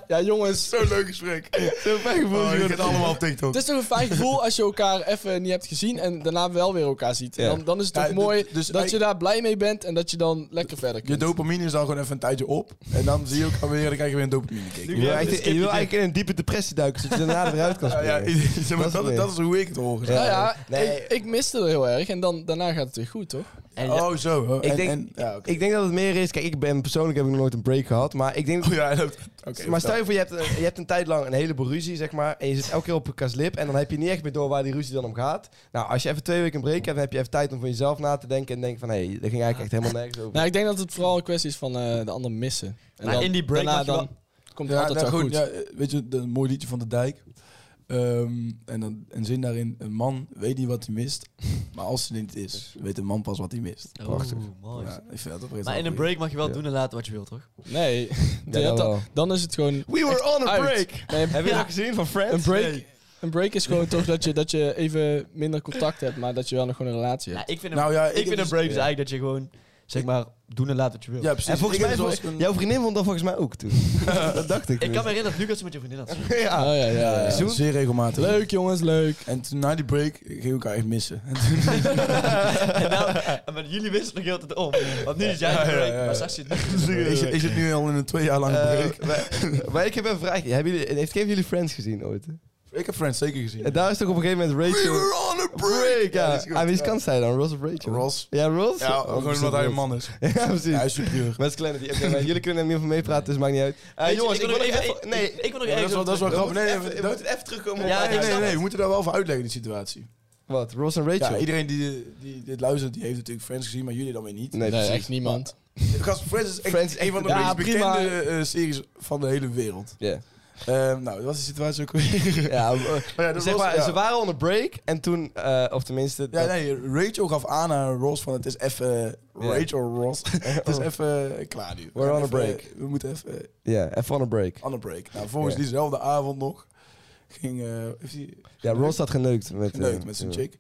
S5: Ja, jongens.
S3: Zo'n leuk gesprek.
S2: Zo'n fijn gevoel.
S3: Oh,
S2: joh.
S3: je zit allemaal op TikTok.
S5: Het is toch een fijn gevoel als je elkaar even niet hebt gezien en daarna wel weer elkaar ziet. En
S2: Ja.
S5: Dan, dan is het toch
S3: Ja,
S5: mooi
S3: dus- dus
S5: dat je
S3: eigenlijk-
S5: daar blij mee bent en dat je dan lekker verder
S3: Je
S5: kunt.
S3: dopamine is dan gewoon even een tijdje op. En dan zie je ook alweer, dan krijg je weer een dopamine kick.
S2: je wil, eigenlijk, je wil eigenlijk in een diepe depressie duiken, zodat je daarna weer uit kan
S3: Ja,
S2: springen.
S3: ja, (laughs) zeg maar,
S2: Dat is
S3: dat,
S2: het
S3: dat is hoe ik het hoor.
S5: Nou ja,
S2: Nee.
S5: ik, ik miste er heel erg en dan, daarna gaat het weer goed, toch?
S4: En
S3: Oh, zo. Oh,
S2: Ik
S3: en-
S2: denk-
S3: en- ja, oké.
S2: Ik denk dat het meer is... Kijk, ik ben persoonlijk heb ik nog nooit een break gehad. Maar ik denk...
S3: Oh, ja, dat- oké,
S2: maar stel je voor, je hebt, een, je hebt een tijd lang een heleboel ruzie, zeg maar. En je zit elke keer op elkaars lip. En dan heb je niet echt meer door waar die ruzie dan om gaat. Nou, als je even twee weken een break hebt, dan heb je even tijd om voor jezelf na te denken. En denk van, hé, hey, dat ging eigenlijk echt helemaal nergens over.
S5: Nou, ik denk dat het vooral een kwestie is van eh, de ander missen. En
S4: Maar in die break
S5: daarna
S4: mag je
S5: dan komt het
S3: Ja,
S5: altijd
S3: nou,
S5: wel
S3: goed,
S5: goed.
S3: ja, eh, weet je, de- een mooi liedje van de dijk. Ehm, en dan een zin daarin: een man weet niet wat hij mist, maar als hij niet is, weet een man pas wat hij mist.
S4: Prachtig. mooi.
S3: Ja, ik vind dat oprecht
S4: Maar
S3: wel
S4: in een
S3: goed.
S4: break mag je wel
S2: Ja.
S4: doen en laten wat je wilt, toch?
S5: (laughs) Nee,
S2: Ja, dat wel.
S5: dan, dan is het gewoon...
S2: We were on a
S5: uit.
S2: break!
S5: Nee,
S2: Heb je dat gezien van Friends?
S5: een, break, een break is gewoon toch dat je, dat je even minder contact hebt, maar dat je wel nog gewoon een relatie
S4: Ja,
S5: hebt.
S4: ik vind een,
S3: Nou ja,
S4: ik vind
S3: heb
S4: een break
S3: dus-
S4: dus eigenlijk dat je gewoon, zeg maar, doen en laten wat je wilt.
S3: Ja, precies.
S2: En volgens
S3: Ik
S2: mij,
S3: heb dus
S2: vond-
S3: wel eens
S2: jouw vriendin vond dat volgens mij ook toen. dat dacht ik.
S4: Ik kan me herinneren dat Lucas het met je vriendin had.
S2: ja.
S4: Ah.
S5: Oh, ja, ja, ja.
S3: een-
S2: zoen.
S3: zeer regelmatig.
S5: Leuk jongens, leuk.
S3: En toen na die break ging ik elkaar echt missen. En toen-
S4: en nou, en maar jullie wisten nog heel tijd om. Want nu is jij
S3: Ja,
S4: een
S3: ja,
S4: break,
S3: ja, ja.
S4: maar straks zit niet.
S3: ik, zit- ik zit nu al in een twee jaar lange
S2: Eh,
S3: break.
S2: maar- maar ik heb een vraagje. Hebben jullie, heeft geen van jullie Friends gezien ooit?
S3: Ik heb Friends zeker gezien.
S2: En daar is toch op een gegeven moment
S3: We
S2: Rachel...
S3: were on a
S2: break,
S3: break!
S2: ja.
S3: dat is goed.
S2: Aan wie kant zij dan? Ross of Rachel?
S3: Ross.
S2: Ja, Ross?
S3: Ja, gewoon omdat hij een
S2: (laughs)
S3: man is.
S2: Ja, precies.
S3: (laughs) Hij is superieur.
S2: Maar het is kleiner. die- oké, maar jullie kunnen er niet over meepraten, dus maakt niet uit. Eh,
S4: Weet je,
S2: jongens, ik wil nog
S4: nog
S2: even...
S4: even-
S2: nee,
S4: ik, ik wil nog
S3: Ja, dat
S4: even...
S3: is wel, dat is wel
S2: we
S3: grappig.
S2: moeten
S3: Nee,
S2: even-
S3: nee,
S2: we moeten even terugkomen op...
S4: Ja,
S3: nee,
S4: ik
S3: nee,
S4: snap
S3: nee,
S4: het.
S3: we moeten daar wel voor uitleggen, die situatie.
S2: Wat? Ross en Rachel?
S3: Ja, iedereen die, die dit luistert, die heeft natuurlijk Friends gezien, maar jullie dan weer niet. Dus
S2: Nee,
S5: Nee,
S2: precies.
S5: echt niemand.
S3: Gast, Friends is echt
S2: Friends is
S3: een van de
S5: echt-
S3: meest
S5: Ja, prima.
S3: bekende eh, series van de hele wereld.
S2: Ja.
S3: Ehm, nou, dat was de situatie ook weer.
S2: (laughs) Ja, eh,
S3: Maar ja, dat
S2: zeg
S3: was-
S2: maar,
S3: ja.
S2: ze waren on a break en toen, eh, of tenminste...
S3: (laughs) Ja,
S2: dat-
S3: nee, Rachel gaf aan aan Ross van het is even... Rachel Ross. (laughs) het is even eh, klaar nu.
S2: We're on a
S3: Even- eh,
S2: break.
S3: We moeten even
S2: Ja, even on a break.
S3: on a break. Nou, volgens
S2: Ja.
S3: diezelfde avond nog ging... eh heeft hij
S2: Ja, Ross had geneukt met, eh,
S3: geneukt met zijn
S2: ja.
S3: chick.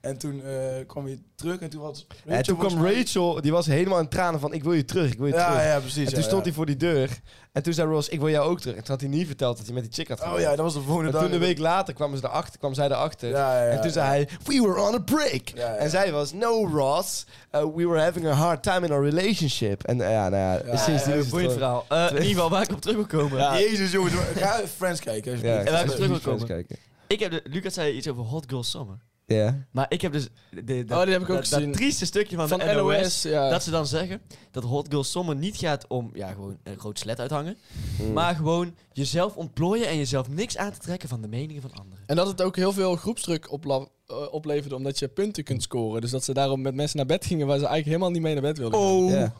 S3: En toen eh, kwam hij terug en toen was Rachel...
S2: En toen kwam
S3: volgens mij-
S2: Rachel, die was helemaal in tranen van ik wil je terug, ik wil je terug.
S3: Ja, ja, precies.
S2: En toen
S3: ja,
S2: stond
S3: ja.
S2: hij voor die deur en toen zei Ross ik wil jou ook terug. En toen had hij niet verteld dat hij met die chick had
S3: Oh
S2: gedaan.
S3: ja, dat was de volgende
S2: En
S3: dag.
S2: toen een week later kwamen ze erachter, kwam zij erachter.
S3: Ja, ja, ja,
S2: en toen zei hij, we were on a break.
S3: Ja, ja.
S2: En zij was, no Ross, uh, we were having a hard time in our relationship. En eh, ja, nou ja,
S3: Ja,
S2: sinds die
S4: Eh,
S2: is het
S4: boeiend
S2: gewoon-
S4: verhaal. Eh, in ieder geval, waar ik op terug wil komen.
S5: Ja.
S3: Jezus, jongens. Ga Friends kijken.
S2: Ja,
S3: alsjeblieft.
S4: En laten we terug
S2: Even
S4: komen.
S2: kijken.
S4: Ik heb de, Lucas zei iets over Hot Girl Summer.
S2: Ja.
S4: Maar ik heb dus... De, de,
S5: Oh, die heb ik ook
S4: dat-
S5: gezien.
S4: Dat trieste stukje van,
S5: Van
S4: de NOS.
S5: NOS, ja.
S4: Dat ze dan zeggen dat Hot Girl Summer niet gaat om... Ja, gewoon een groot slet uithangen.
S2: Hmm.
S4: Maar gewoon jezelf ontplooien en jezelf niks aan te trekken van de meningen van anderen.
S5: En dat het ook heel veel groepsdruk opla- eh, opleverde, omdat je punten kunt scoren. Dus dat ze daarom met mensen naar bed gingen waar ze eigenlijk helemaal niet mee naar bed wilden. gaan.
S3: Oh
S2: Ja.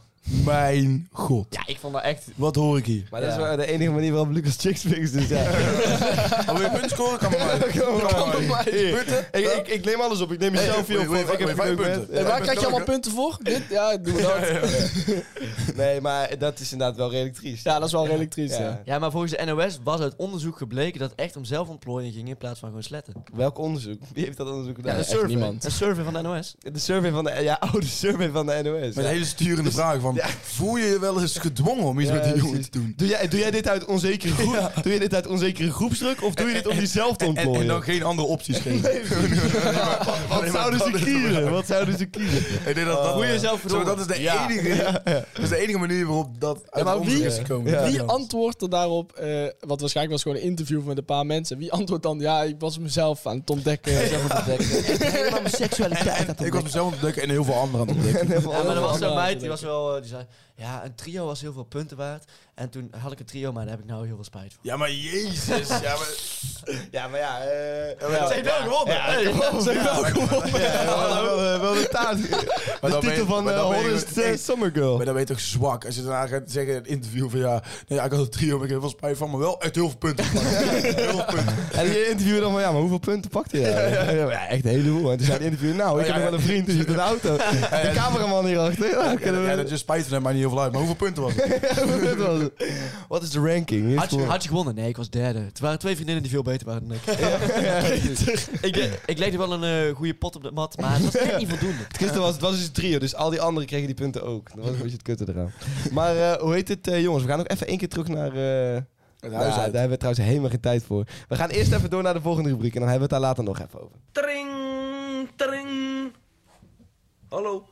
S3: mijn god.
S4: Ja, ik vond dat echt...
S3: Wat hoor ik hier?
S2: Maar dat is wel de enige manier waarop Lucas chicks fix dus
S3: (laughs)
S2: ja.
S3: Oh, wil je punten
S2: (laughs)
S3: scoren? Kan maar. Kan maar. Punten?
S2: ik, ik, ik neem alles op, ik neem
S3: Hey,
S2: mezelf
S3: wait,
S2: hier op.
S3: wait,
S2: Ik heb
S3: wait,
S2: genoeg
S3: vijf
S2: met-
S3: punten.
S5: En
S3: Ja,
S5: waar
S3: ik
S5: krijg je
S3: ben
S5: allemaal punten voor? Dit? Ja, doen we
S2: (laughs)
S5: dat.
S2: Nee, maar dat is inderdaad wel redelijk triest.
S5: Ja, dat is wel redelijk triest,
S2: Ja.
S5: ja.
S4: Ja, maar volgens de NOS was uit onderzoek gebleken dat het echt om zelfontplooiing ging in plaats van gewoon
S2: (laughs)
S4: sletten.
S2: Welk onderzoek? Wie heeft dat onderzoek gedaan?
S4: Ja, een
S5: echt
S4: survey.
S5: niemand.
S4: Een survey van de NOS.
S2: (laughs) oh, De survey van de, ja, oude survey van de NOS.
S3: Met een hele sturende vraag van van, voel je je wel eens gedwongen om iets
S2: Ja,
S3: met die jongen
S2: precies.
S3: te doen?
S2: Doe jij, doe jij dit uit onzekere groep, doe je dit uit onzekere groepsdruk of doe je dit om jezelf te
S3: En,
S2: ontplooien?
S3: en dan geen andere opties geven. (laughs)
S2: wat, wat zouden ze kiezen? Wat zouden ze kiezen?
S3: Ik denk dat dat,
S4: Hoe je jezelf
S3: Zeg maar, dat is de
S4: Ja.
S3: enige, dat is de enige manier waarop dat uit
S5: maar
S3: ons
S5: wie-
S3: is gekomen.
S2: Ja.
S5: Wie antwoordt er daarop, eh, wat waarschijnlijk was gewoon een interview met een paar mensen. Wie antwoordt dan, ja, ik was mezelf aan het ontdekken.
S4: Helemaal mijn seksualiteit.
S3: Ik was mezelf aan het ontdekken en heel veel anderen aan het ontdekken. (laughs)
S4: Ja, maar er was zo'n
S5: Ja,
S4: meid, die
S5: natuurlijk.
S4: was wel, eh, die zei, ja, een trio was heel veel punten waard. En toen had ik een trio, maar daar heb ik nou heel veel spijt van.
S3: Ja, maar jezus. Ja, maar...
S2: Ja, maar ja...
S3: ja. Ze heeft wel gewonnen. Hey,
S2: Ze heeft wel gewonnen. Wel eh, wel de taart.
S3: ben
S2: De
S3: je-
S2: titel van
S3: maar dan
S2: eh,
S3: ben je-
S2: Hottest eh,
S3: nee.
S2: Summer Girl.
S3: Maar dan ben je toch zwak. Als je daarna gaat zeggen in een interview van ja, nee, ja, ik had een trio, maar ik heb wel spijt van, maar wel echt heel veel punten. (laughs) gepakt. heel veel punten.
S2: En je interview dan van, ja, maar hoeveel punten pakte je? nou? Ja, maar ja, echt een heleboel. En toen zei de interview, nou, ik heb nog wel een vriend, die zit in de auto. De cameraman hierachter. Ja, kunnen we-
S3: Ja, dat
S2: (laughs)
S3: je spijt van hem, maar niet heel veel uit. Maar hoeveel punten was het?
S2: Dat was het. Wat is de ranking? Hier
S4: Had je,
S2: voor-
S4: had je gewonnen? Nee, ik was derde. Het waren twee vriendinnen die veel beter waren dan ik. (laughs) ik, le- ik legde wel een eh, goede pot op de mat, maar het was net niet voldoende.
S2: Gisteren was het was dus een trio, dus al die anderen kregen die punten ook. Dat was een beetje het kutte eraan. Maar eh, hoe heet het, eh, jongens? We gaan nog even één keer terug naar... eh,
S3: Het
S2: nou,
S3: huis
S2: daar
S3: uit.
S2: hebben we trouwens helemaal geen tijd voor. We gaan eerst even door naar de volgende rubriek en dan hebben we het daar later nog even over.
S6: Tring, tring. Hallo.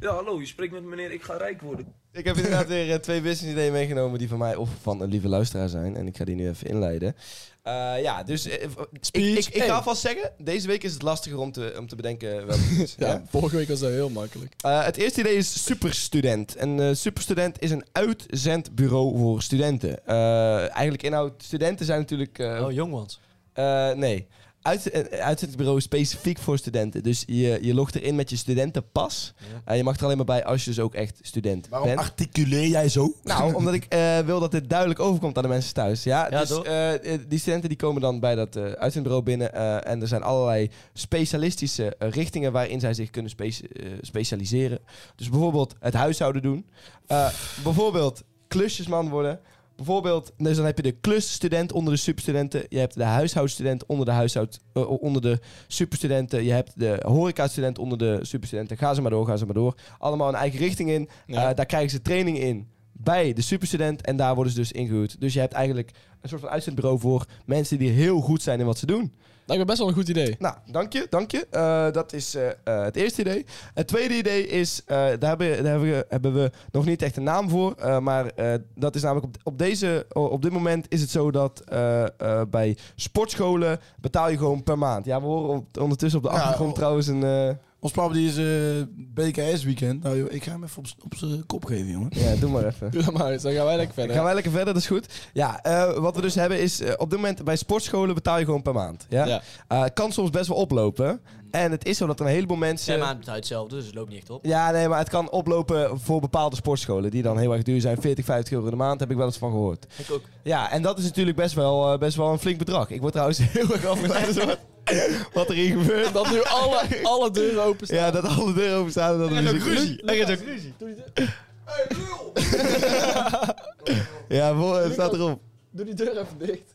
S6: Ja, hallo, je spreekt met meneer Ik ga rijk worden.
S2: Ik heb inderdaad weer eh, twee business ideeën meegenomen die van mij of van een lieve luisteraar zijn. En ik ga die nu even inleiden. Eh, ja, dus eh, ik, ik, ik ga alvast zeggen, deze week is het lastiger om te, om te bedenken welke het is.
S5: ja,
S2: Ja?
S5: vorige week was dat heel makkelijk.
S2: Eh, het eerste idee is Superstudent. En eh, Superstudent is een uitzendbureau voor studenten. Eh, eigenlijk inhoud, studenten zijn natuurlijk... eh,
S4: (laughs) Oh, jong ones.
S2: eh, nee. Uit, eh, uitzendbureau is specifiek voor studenten. Dus je, je logt erin met je studentenpas.
S4: Ja.
S2: En je mag er alleen maar bij als je dus ook echt student
S3: Waarom
S2: bent.
S3: articuleer jij zo? (laughs)
S2: Nou, omdat ik eh, wil dat dit duidelijk overkomt aan de mensen thuis. Ja,
S4: Ja,
S2: dus
S4: toch?
S2: eh, eh, die studenten die komen dan bij dat eh, uitzendbureau binnen. eh, en er zijn allerlei specialistische eh, richtingen waarin zij zich kunnen spe- eh, specialiseren. Dus bijvoorbeeld het huishouden doen. Eh, bijvoorbeeld klusjesman worden. Bijvoorbeeld, dus dan heb je de klusstudent onder de superstudenten. Je hebt de huishoudstudent onder de, huishoud, eh, onder de superstudenten. Je hebt de horecastudent onder de superstudenten. Ga ze maar door, ga ze maar door. Allemaal een eigen richting in.
S5: Ja.
S2: Eh, daar krijgen ze training in bij de superstudent. En daar worden ze dus ingehuurd. Dus je hebt eigenlijk een soort van uitzendbureau voor mensen die heel goed zijn in wat ze doen.
S5: Lijkt me best wel een goed idee.
S2: Nou, dank je, dank je. Eh, dat is eh, eh, het eerste idee. Het tweede idee is, eh, daar, hebben, daar hebben, we, hebben we nog niet echt een naam voor. eh, maar eh, dat is namelijk op, op, deze, op dit moment is het zo dat eh, eh, bij sportscholen betaal je gewoon per maand. Ja, we horen op- ondertussen op de
S3: Ja,
S2: achtergrond
S3: oh.
S2: trouwens een... eh,
S3: (laughs) Ons papa die is eh, BKS weekend. Nou joh, ik ga hem even op z'n- op zijn kop geven, jongen.
S2: ja, doe maar
S5: (laughs)
S2: even.
S5: Doe dat maar eens, dan gaan wij lekker verder.
S2: Gaan wij lekker verder, dat is goed. Ja, eh, wat we dus hebben is, eh, op dit moment bij sportscholen betaal je gewoon per maand. Ja?
S5: Ja.
S2: Eh, kan soms best wel oplopen. En het is zo dat er een heleboel mensen...
S4: Zijn maanden betaalt hetzelfde, dus het loopt niet echt op.
S2: Ja, nee, maar het kan oplopen voor bepaalde sportscholen. Die dan heel erg duur zijn. 40, 50 euro in de maand heb ik wel eens van gehoord.
S4: Ik ook.
S2: Ja, en dat is natuurlijk best wel, eh, best wel een flink bedrag. Ik word trouwens (laughs) heel erg afgeleid door wat, wat er hier gebeurt.
S5: Dat nu
S2: (laughs)
S5: alle, alle deuren open staan.
S2: Ja, dat alle deuren openstaan en dat er muziek-
S4: Er is ook ruzie.
S2: Ja, voor- het staat erop.
S5: Doe die deur even dicht.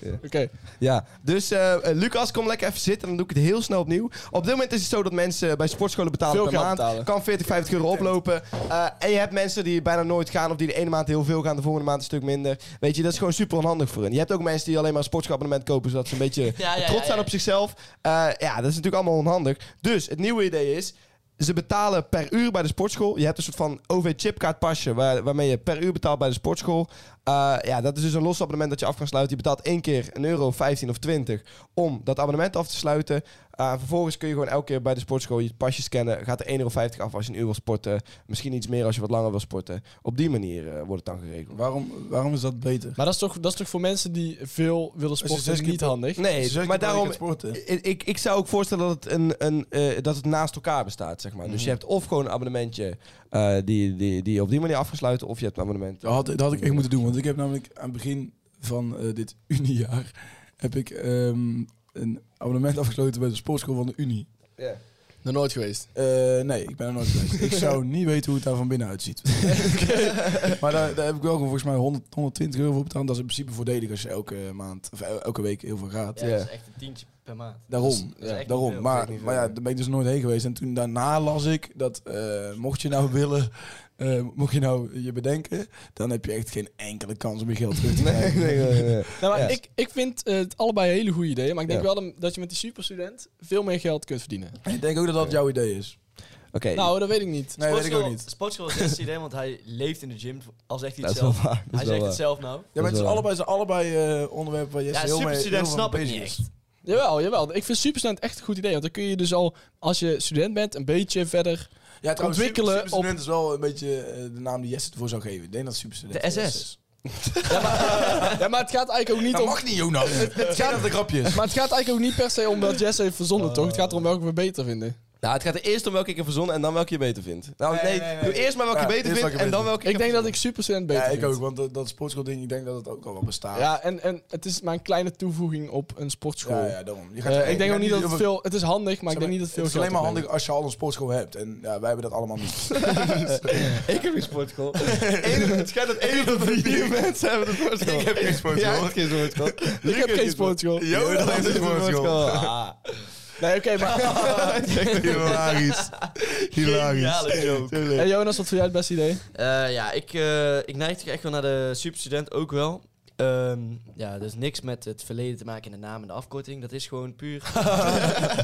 S2: Ja.
S5: Oké,
S2: Ja, dus eh, eh, Lucas, kom lekker even zitten. Dan doe ik het heel snel opnieuw. Op dit moment is het zo dat mensen eh, bij sportscholen betalen
S5: Veel
S2: per
S5: geld
S2: maand.
S5: betalen.
S2: Kan 40, 50 euro oplopen. Eh, en je hebt mensen die bijna nooit gaan. Of die de ene maand heel veel gaan, de volgende maand een stuk minder. Weet je, dat is gewoon super onhandig voor hen. Je hebt ook mensen die alleen maar een sportschoolabonnement kopen. Zodat ze een beetje
S4: (laughs) ja, ja,
S2: trots zijn
S4: ja.
S2: op zichzelf. Eh, ja, dat is natuurlijk allemaal onhandig. Dus het nieuwe idee is... Ze betalen per uur bij de sportschool. Je hebt een soort van OV-chipkaart pasje waar, waarmee je per uur betaalt bij de sportschool. Eh, ja, dat is dus een los abonnement dat je af kan sluiten. Je betaalt één keer een euro, 15 of 20 om dat abonnement af te sluiten. Eh, vervolgens kun je gewoon elke keer bij de sportschool je pasje scannen. Gaat er 1,50 euro af als je een uur wil sporten. Misschien iets meer als je wat langer wil sporten. Op die manier eh, wordt het dan geregeld.
S3: Waarom, waarom is dat beter?
S5: maar dat is, toch, dat is toch voor mensen die veel willen
S3: zes
S5: sporten
S3: keer
S5: niet
S3: per-
S5: handig?
S3: Ze
S2: Dus- Nee,
S3: zeggen
S2: maar
S3: dat je
S2: daarom...
S3: gaat sporten.
S2: Ik, ik- ik zou ook voorstellen dat het, een, een, eh, dat het naast elkaar bestaat, zeg maar. Dus je hebt of gewoon een abonnementje eh, die, die, die je op die manier afgesluiten... of je hebt een abonnement...
S3: Dat had, dat had ik echt moeten doen, want ik heb namelijk aan het begin van eh, dit (laughs) uniejaar heb ik ehm, een abonnement afgesloten bij de sportschool van de Unie.
S5: Nog nooit geweest.
S3: Eh, nee, ik ben er nooit geweest. ik zou niet weten hoe het daar van binnen uitziet. (laughs) Oké. Maar daar, daar heb ik wel gewoon volgens mij 100, 120 euro voor betaald. Dat is in principe voordelig als je elke maand of el- elke week heel veel gaat.
S4: Ja, dat is echt een tientje per maand.
S3: Daarom,
S4: Dat is echt niet
S3: daarom.
S4: veel.
S3: maar, maar ja, daar ben ik dus nooit heen geweest. En toen daarna las ik dat eh, mocht je nou (laughs) willen eh, mocht je nou je bedenken, dan heb je echt geen enkele kans om je geld terug te krijgen.
S2: (laughs) Nee, nee, nee, nee.
S5: Nou, maar
S2: Ja.
S5: ik, ik vind eh, het allebei hele goede ideeën. Maar ik denk
S2: Ja.
S5: wel dat- dat je met die superstudent veel meer geld kunt verdienen.
S3: Ik denk ook dat dat jouw idee is.
S2: Oké,
S5: Nou, dat weet ik niet.
S3: Nee, weet ik ook
S4: Sportschool-
S3: niet.
S4: Sportschool is het idee, want hij leeft in de gym. Als zegt hij
S2: dat
S4: het
S2: is wel
S4: zelf.
S2: waar. dat
S4: Hij
S2: is wel
S4: zegt het
S2: waar.
S4: zelf nou.
S3: Ja, maar het
S2: Dat
S3: zijn
S2: is wel
S3: allebei, zijn allebei eh, onderwerpen waar Jesse
S4: Ja,
S3: heel mee-
S4: superstudent
S3: heel
S4: snap
S3: mee
S4: ik
S3: bezig
S4: niet
S3: is.
S4: echt.
S5: Jawel, jawel. Ik vind superstudent echt een goed idee. Want dan kun je dus al, als je student bent, een beetje verder...
S3: Ja, trouwens,
S5: Ontwikkelen
S3: super- superstudent is wel een beetje eh, de naam die Jesse ervoor zou geven. Ik denk dat superstudent
S4: De SS.
S3: is.
S5: Ja, maar het gaat eigenlijk ook niet
S3: Dat
S5: om...
S3: mag niet,
S5: (laughs)
S3: Jonas. Het gaat dat de grapje is.
S5: Maar het gaat eigenlijk ook niet per se om dat Jesse heeft verzonnen, toch? Het gaat erom welke we beter vinden.
S2: Nou, het gaat er eerst om welke ik heb verzonnen en dan welke je beter vindt. Nou, nee,
S3: Nee, nee, nee.
S2: doe eerst maar welke je
S3: Ja,
S2: beter
S3: eerst
S2: vindt
S3: welke
S2: en dan
S3: beter
S2: welke
S5: Ik denk dat ik superstudent beter
S3: Ja, ik
S5: vind.
S3: ook, want dat, dat sportschool ding, ik denk dat het ook al wel bestaat.
S5: Ja, en, en het is maar een kleine toevoeging op een sportschool.
S3: ja, ja, daarom. Je gaat-
S5: Eh,
S3: je
S5: ik denk
S3: gaat
S5: ook niet dat het
S3: over-
S5: veel... Het is handig,
S3: zeg
S5: maar ik denk niet dat het veel
S3: Het is alleen
S5: geld
S3: maar handig
S5: oplevert.
S3: als je al een sportschool hebt. En ja, wij hebben dat allemaal
S5: (laughs)
S3: niet.
S2: Ik heb geen sportschool. (laughs) Eén- Het schijnt dat één op de (laughs) vier mensen hebben een sportschool. Ik heb geen sportschool. Jij hebt geen sportschool.
S5: Ik
S2: (laughs)
S5: heb geen sportschool.
S2: Jo, dat is een sportschool. Ah.
S5: Nee, oké, maar...
S2: (laughs)
S3: Hilarisch.
S4: Geniale joke.
S5: En Eh, Jonas, wat vind jij het beste idee?
S4: Eh, ja, ik, eh ik neig toch echt wel naar de superstudent ook wel. Ehm, ja, dus niks met het verleden te maken in de naam en de afkorting. Dat is gewoon puur.
S2: (laughs)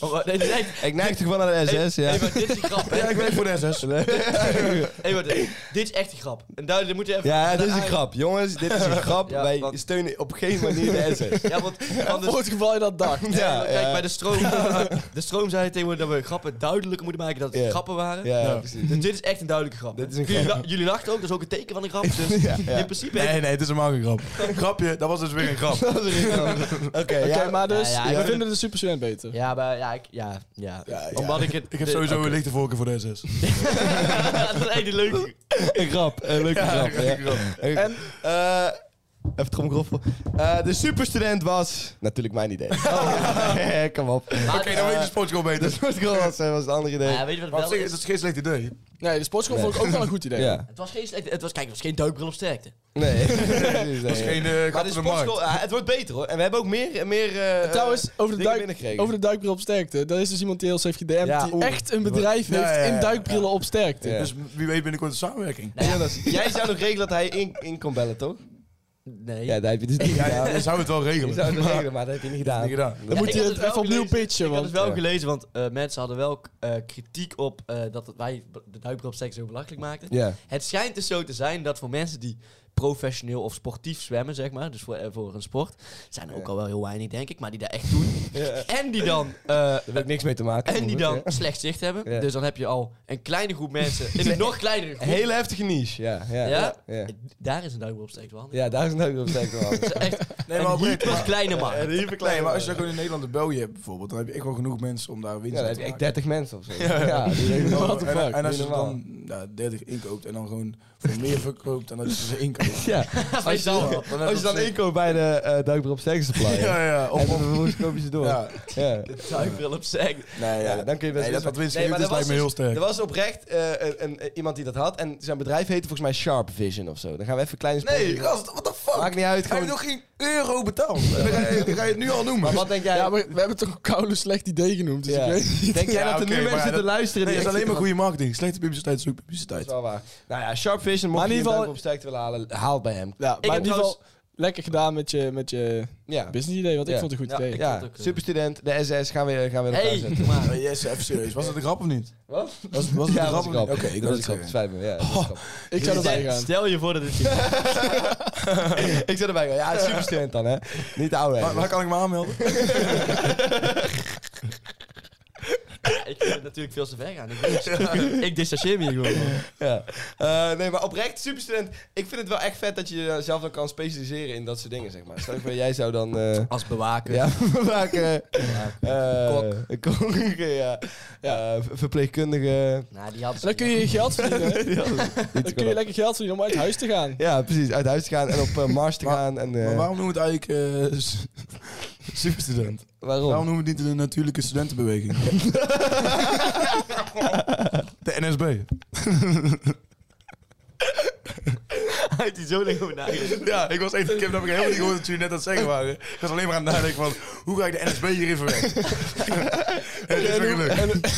S4: Oh, maar nee, dit is echt-
S2: Ik neig toch wel naar de SS, ja.
S4: Hey, maar dit is een grap. hè?
S3: Ja, ik weet voor de SS.
S4: Hey, maar dit- dit is echt een grap. En daar dit moet je even.
S2: (laughs) Ja, dit is een grap. Jongens, dit (laughs) is een grap.
S4: Ja,
S2: Wij
S4: want-
S2: steunen op geen manier de (laughs) SS.
S4: Ja, want anders.
S5: Voor het geval je dat dacht.
S4: Ja,
S2: Ja,
S4: kijk,
S2: ja.
S4: bij de stroom.
S2: (laughs)
S4: de stroom zei tegenwoordig dat we grappen duidelijker moeten maken dat het
S2: Ja.
S4: grappen waren.
S2: Ja,
S4: Nou,
S2: precies.
S4: Dus dit is echt een duidelijke grap.
S2: Dit is een
S4: jullie,
S2: grap.
S4: la- jullie lachten ook, dat is ook een teken van een grap.
S2: (laughs)
S4: Dus
S2: Ja, ja.
S4: in principe.
S3: Nee, nee, het is helemaal geen grap.
S2: (laughs)
S3: Grapje, dat was dus weer een grap.
S2: Oké,
S5: Oké,
S2: ja.
S5: maar dus,
S4: Ja, ja, ik
S5: we
S4: vind-
S5: vinden de superstudent beter.
S4: Ja, maar ja, ik, ja, ja.
S3: Ja, ja.
S4: Omdat ik het.
S3: Ik heb
S4: de- (laughs)
S3: sowieso een lichte voorkeur voor de
S5: (laughs)
S3: SS.
S4: dat is echt een leuke.
S2: Een grap. Een leuke grap. ja. En, eh even tromgeroffel. Eh, de superstudent was... Natuurlijk mijn idee. (laughs) Oh. Kom op.
S4: Maar,
S3: Oké, dan weet je de sportschool
S2: De
S3: beter.
S2: sportschool was, eh, was het andere idee.
S4: eh, Ah, ja, weet je wat
S3: Maar
S4: het
S3: op zich
S4: wel
S3: is
S4: is?
S3: het geen slecht idee.
S5: Nee, de sportschool vond ik ook wel een goed idee.
S2: Ja.
S4: Het was geen slechte, het was, kijk, het was geen duikbril op sterkte.
S2: (laughs) Nee.
S3: Dat is geen eh
S2: Maar
S3: grap
S2: de
S3: in de markt.
S2: sportschool, ja, het wordt beter hoor. En we hebben ook meer... meer eh,
S5: Trouwens, over de,
S2: dingen
S5: duik,
S2: binnengekregen.
S5: over de duikbril op sterkte. Dat is dus iemand die heel heeft gedm'd.
S2: Ja,
S5: die
S2: oeh.
S5: echt een bedrijf
S3: Ja, ja,
S5: heeft
S3: ja,
S5: in duikbrillen op sterkte.
S2: Ja.
S3: Dus wie weet binnenkort een samenwerking.
S4: Nou
S2: Nee, Jonas, jij zou nog regelen dat hij in, in kon bellen, toch?
S4: Nee.
S2: Ja, dat heb je dus niet
S3: Ja,
S2: gedaan.
S3: ja, dan zou het wel
S2: (laughs) Je
S3: regelen.
S2: zou het
S3: Maar-
S2: regelen, maar dat heb je niet gedaan.
S3: Niet gedaan.
S5: Dan
S4: Ja,
S5: moet
S4: ik
S5: hij
S4: had het
S5: het even
S4: wel
S5: opnieuw
S4: gelezen.
S5: pitchen.
S4: Ik had het
S5: Want,
S4: wel
S2: Ja.
S4: gelezen, want eh, mensen hadden wel eh, kritiek op eh, dat wij de duikbril op sterkte zo belachelijk maakten.
S2: Ja.
S4: Het schijnt dus zo te zijn dat voor mensen die professioneel of sportief zwemmen, zeg maar, dus voor, eh, voor een sport, zijn er ook al wel heel weinig, denk ik, maar die dat echt doen. En die dan, eh,
S2: Daar heb ik niks mee te maken.
S4: en die dan
S2: Ja.
S4: slecht zicht hebben.
S2: Ja.
S4: Dus dan heb je al een kleine groep
S2: (laughs)
S4: mensen in een nog kleinere groep.
S2: Hele heftige niche, ja. Ja,
S4: ja?
S2: ja.
S4: Daar is een duikbril op sterkte wel handig.
S2: Ja, daar is het ook op zeker wel. (laughs)
S4: Dat is echt
S3: Nee,
S4: een
S3: maar oprecht.
S4: hyper
S3: maar-
S4: kleine markt.
S3: Nee, maar als je dat gewoon in Nederland en België hebt bijvoorbeeld, dan heb je echt wel genoeg mensen om daar winst
S2: Ja, dan
S3: aan
S2: heb
S3: te
S2: je echt
S3: maken.
S2: 30 mensen of zo. Ja, die regelen
S3: En-
S2: wel.
S3: en, en als je
S2: Doe
S3: ze dan ja, 30 inkoopt en dan gewoon voor meer verkoopt dan dat je ze inkoopt.
S2: Ja, als je dan,
S3: dan heb
S2: als je dan
S3: op zich-
S2: inkoopt bij de eh duikbril op Sex Supply.
S3: (laughs) Ja, ja,
S2: En
S3: of,
S2: dan
S3: of,
S2: vervolgens koop je ze door.
S3: ja.
S4: (laughs)
S2: Ja.
S4: Duikbril op sterkte.
S3: Nee, ja.
S2: Ja, dan kun je best
S3: nee, dat
S2: winst
S3: wat winst
S2: Nee,
S3: geeft,
S2: maar
S3: is
S2: er
S3: lijkt me
S2: was
S3: heel
S2: dus-
S3: sterk.
S2: Er was oprecht eh, een, een, eh, iemand die dat had. En zijn bedrijf heette volgens mij Sharp Vision of zo. Dan gaan we even een kleine sponsor-
S3: Nee, oh, gast, what the fuck?
S2: Maakt niet uit.
S3: Hij heeft
S2: Gewoon...
S3: nog geen euro betaald. Dan ga je, dan ga je het nu al noemen.
S2: Maar wat denk jij?
S5: ja, maar we hebben toch een koude slecht idee genoemd.
S2: (laughs)
S5: Dus
S2: Ja.
S5: ik weet niet.
S2: Denk jij
S3: Ja,
S2: dat er
S3: oké,
S2: nu
S3: maar
S2: mensen
S3: dat-
S2: te luisteren?
S3: Nee,
S2: die echt-
S3: dat is alleen maar goede marketing. Slechte publiciteit is ook
S2: Dat
S3: publiciteit.
S2: is wel waar. Nou ja, Sharp Vision, mocht
S5: Maar in
S2: je
S5: ieder
S2: een
S5: geval-
S2: opsterkte willen halen, haal bij hem.
S5: Ja, maar in
S4: heb
S5: ieder geval,
S4: trouwens-
S5: lekker gedaan met je, met je
S2: Ja,
S5: business idee. Want ik
S2: Ja.
S5: vond het een goed
S4: Ja,
S5: idee.
S4: ik-
S2: ja.
S4: vond het ook, eh,
S2: superstudent, de SS, gaan we, gaan we in elkaar
S4: Hey,
S2: zetten.
S4: maar.
S3: Maar yes, even serieus. Was het een grap of niet?
S2: Wat?
S3: Was, was het
S2: Ja,
S3: een
S2: dat
S3: grap
S2: is
S3: of
S2: een
S3: niet?
S2: grap.
S3: Oké, ik
S2: dat
S3: wil
S2: is
S3: het
S2: een grap, het
S3: zeggen.
S2: spijt me. Ja, dat is een grap. Oh,
S5: Ik zou erbij
S4: Stel-
S5: gaan.
S4: Stel je voor dat
S2: (laughs)
S4: het.
S2: ik zat erbij. Ja, superstudent dan, hè. Niet de oude.
S3: Waar, waar kan ik me (laughs) aanmelden?
S4: ik vind het natuurlijk veel te ver gaan. Ik, ben- (laughs) ik distancieer me hier gewoon. van.
S2: Ja. Eh, nee, maar oprecht, superstudent. Ik vind het wel echt vet dat je jezelf dan kan specialiseren in dat soort dingen, zeg maar. Stel je voor, jij zou dan...
S3: (laughs)
S2: eh,
S4: Als bewaker.
S2: ja, maken. eh kok. ja. Eh, ver- verpleegkundige.
S4: Nou, die had
S5: En dan kun je je geld verdienen.
S2: Iets
S5: Dan kun je
S2: kan
S5: lekker geld verdienen om uit huis te gaan.
S2: Ja, precies. Uit huis te gaan en op eh, Mars te
S3: Maar-
S2: gaan. En, eh,
S3: Maar waarom noemen we het eigenlijk eh, (laughs) s- superstudent? Waarom
S2: waarom?
S3: noemen we het niet de natuurlijke studentenbeweging? (laughs) de NSB.
S4: uit die zo lang over nadenken.
S3: Ja, ik was echt... Ik heb dat helemaal niet gehoord dat jullie net aan het zeggen waren. Ik was alleen maar aan het nadenken van... Hoe ga ik de NSB hierin (laughs) verwerken? en het is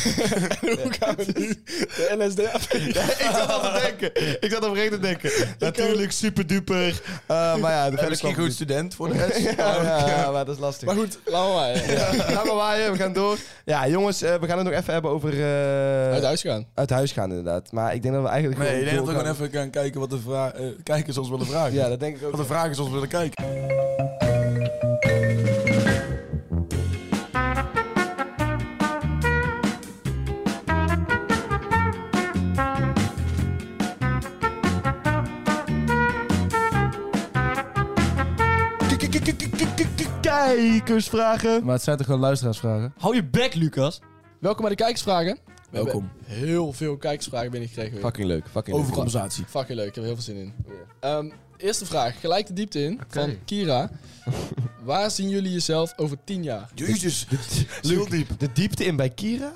S3: me gelukt.
S5: (laughs) Hoe gaan we nu de LSD
S2: ik zat al te denken. Ik zat oprecht te denken. Natuurlijk, super duper. maar ja, de
S3: En
S2: verder
S3: misschien
S2: kwam
S3: goed
S2: het
S3: student voor de
S2: (laughs)
S3: rest. Oh,
S2: niet. ja, ja, ja, maar dat is lastig.
S5: Maar goed, laten we maar. ja.
S2: Ga maar waaien, we (laughs) gaan door. Ja, jongens, eh, we gaan het nog even hebben over... eh,
S5: Uit huis gaan.
S2: uit huis gaan, inderdaad. Maar ik denk dat we eigenlijk
S3: Nee, ik denk dat we
S2: door
S3: gewoon
S2: gaan.
S3: even gaan kijken wat de vra- eh, kijkers ons willen vragen.
S2: Ja, dat denk ik ook.
S3: Wat de vragen ze ons willen kijken.
S2: Kijkersvragen.
S3: Maar het zijn toch gewoon luisteraarsvragen?
S4: Hou je bek,
S2: (laughs)
S4: Lucas.
S5: Welkom bij de kijkersvragen.
S3: Welkom.
S5: Heel veel kijkersvragen binnengekregen weer.
S2: Fucking leuk, fucking
S3: Over
S2: leuk.
S3: compensatie.
S5: Fucking leuk, ik heb er heel veel zin in. Ehm, eerste vraag, gelijk de diepte in, van Kira. Waar zien jullie jezelf over tien jaar?
S3: Jezus.
S2: Heel diep. De diepte in bij Kira?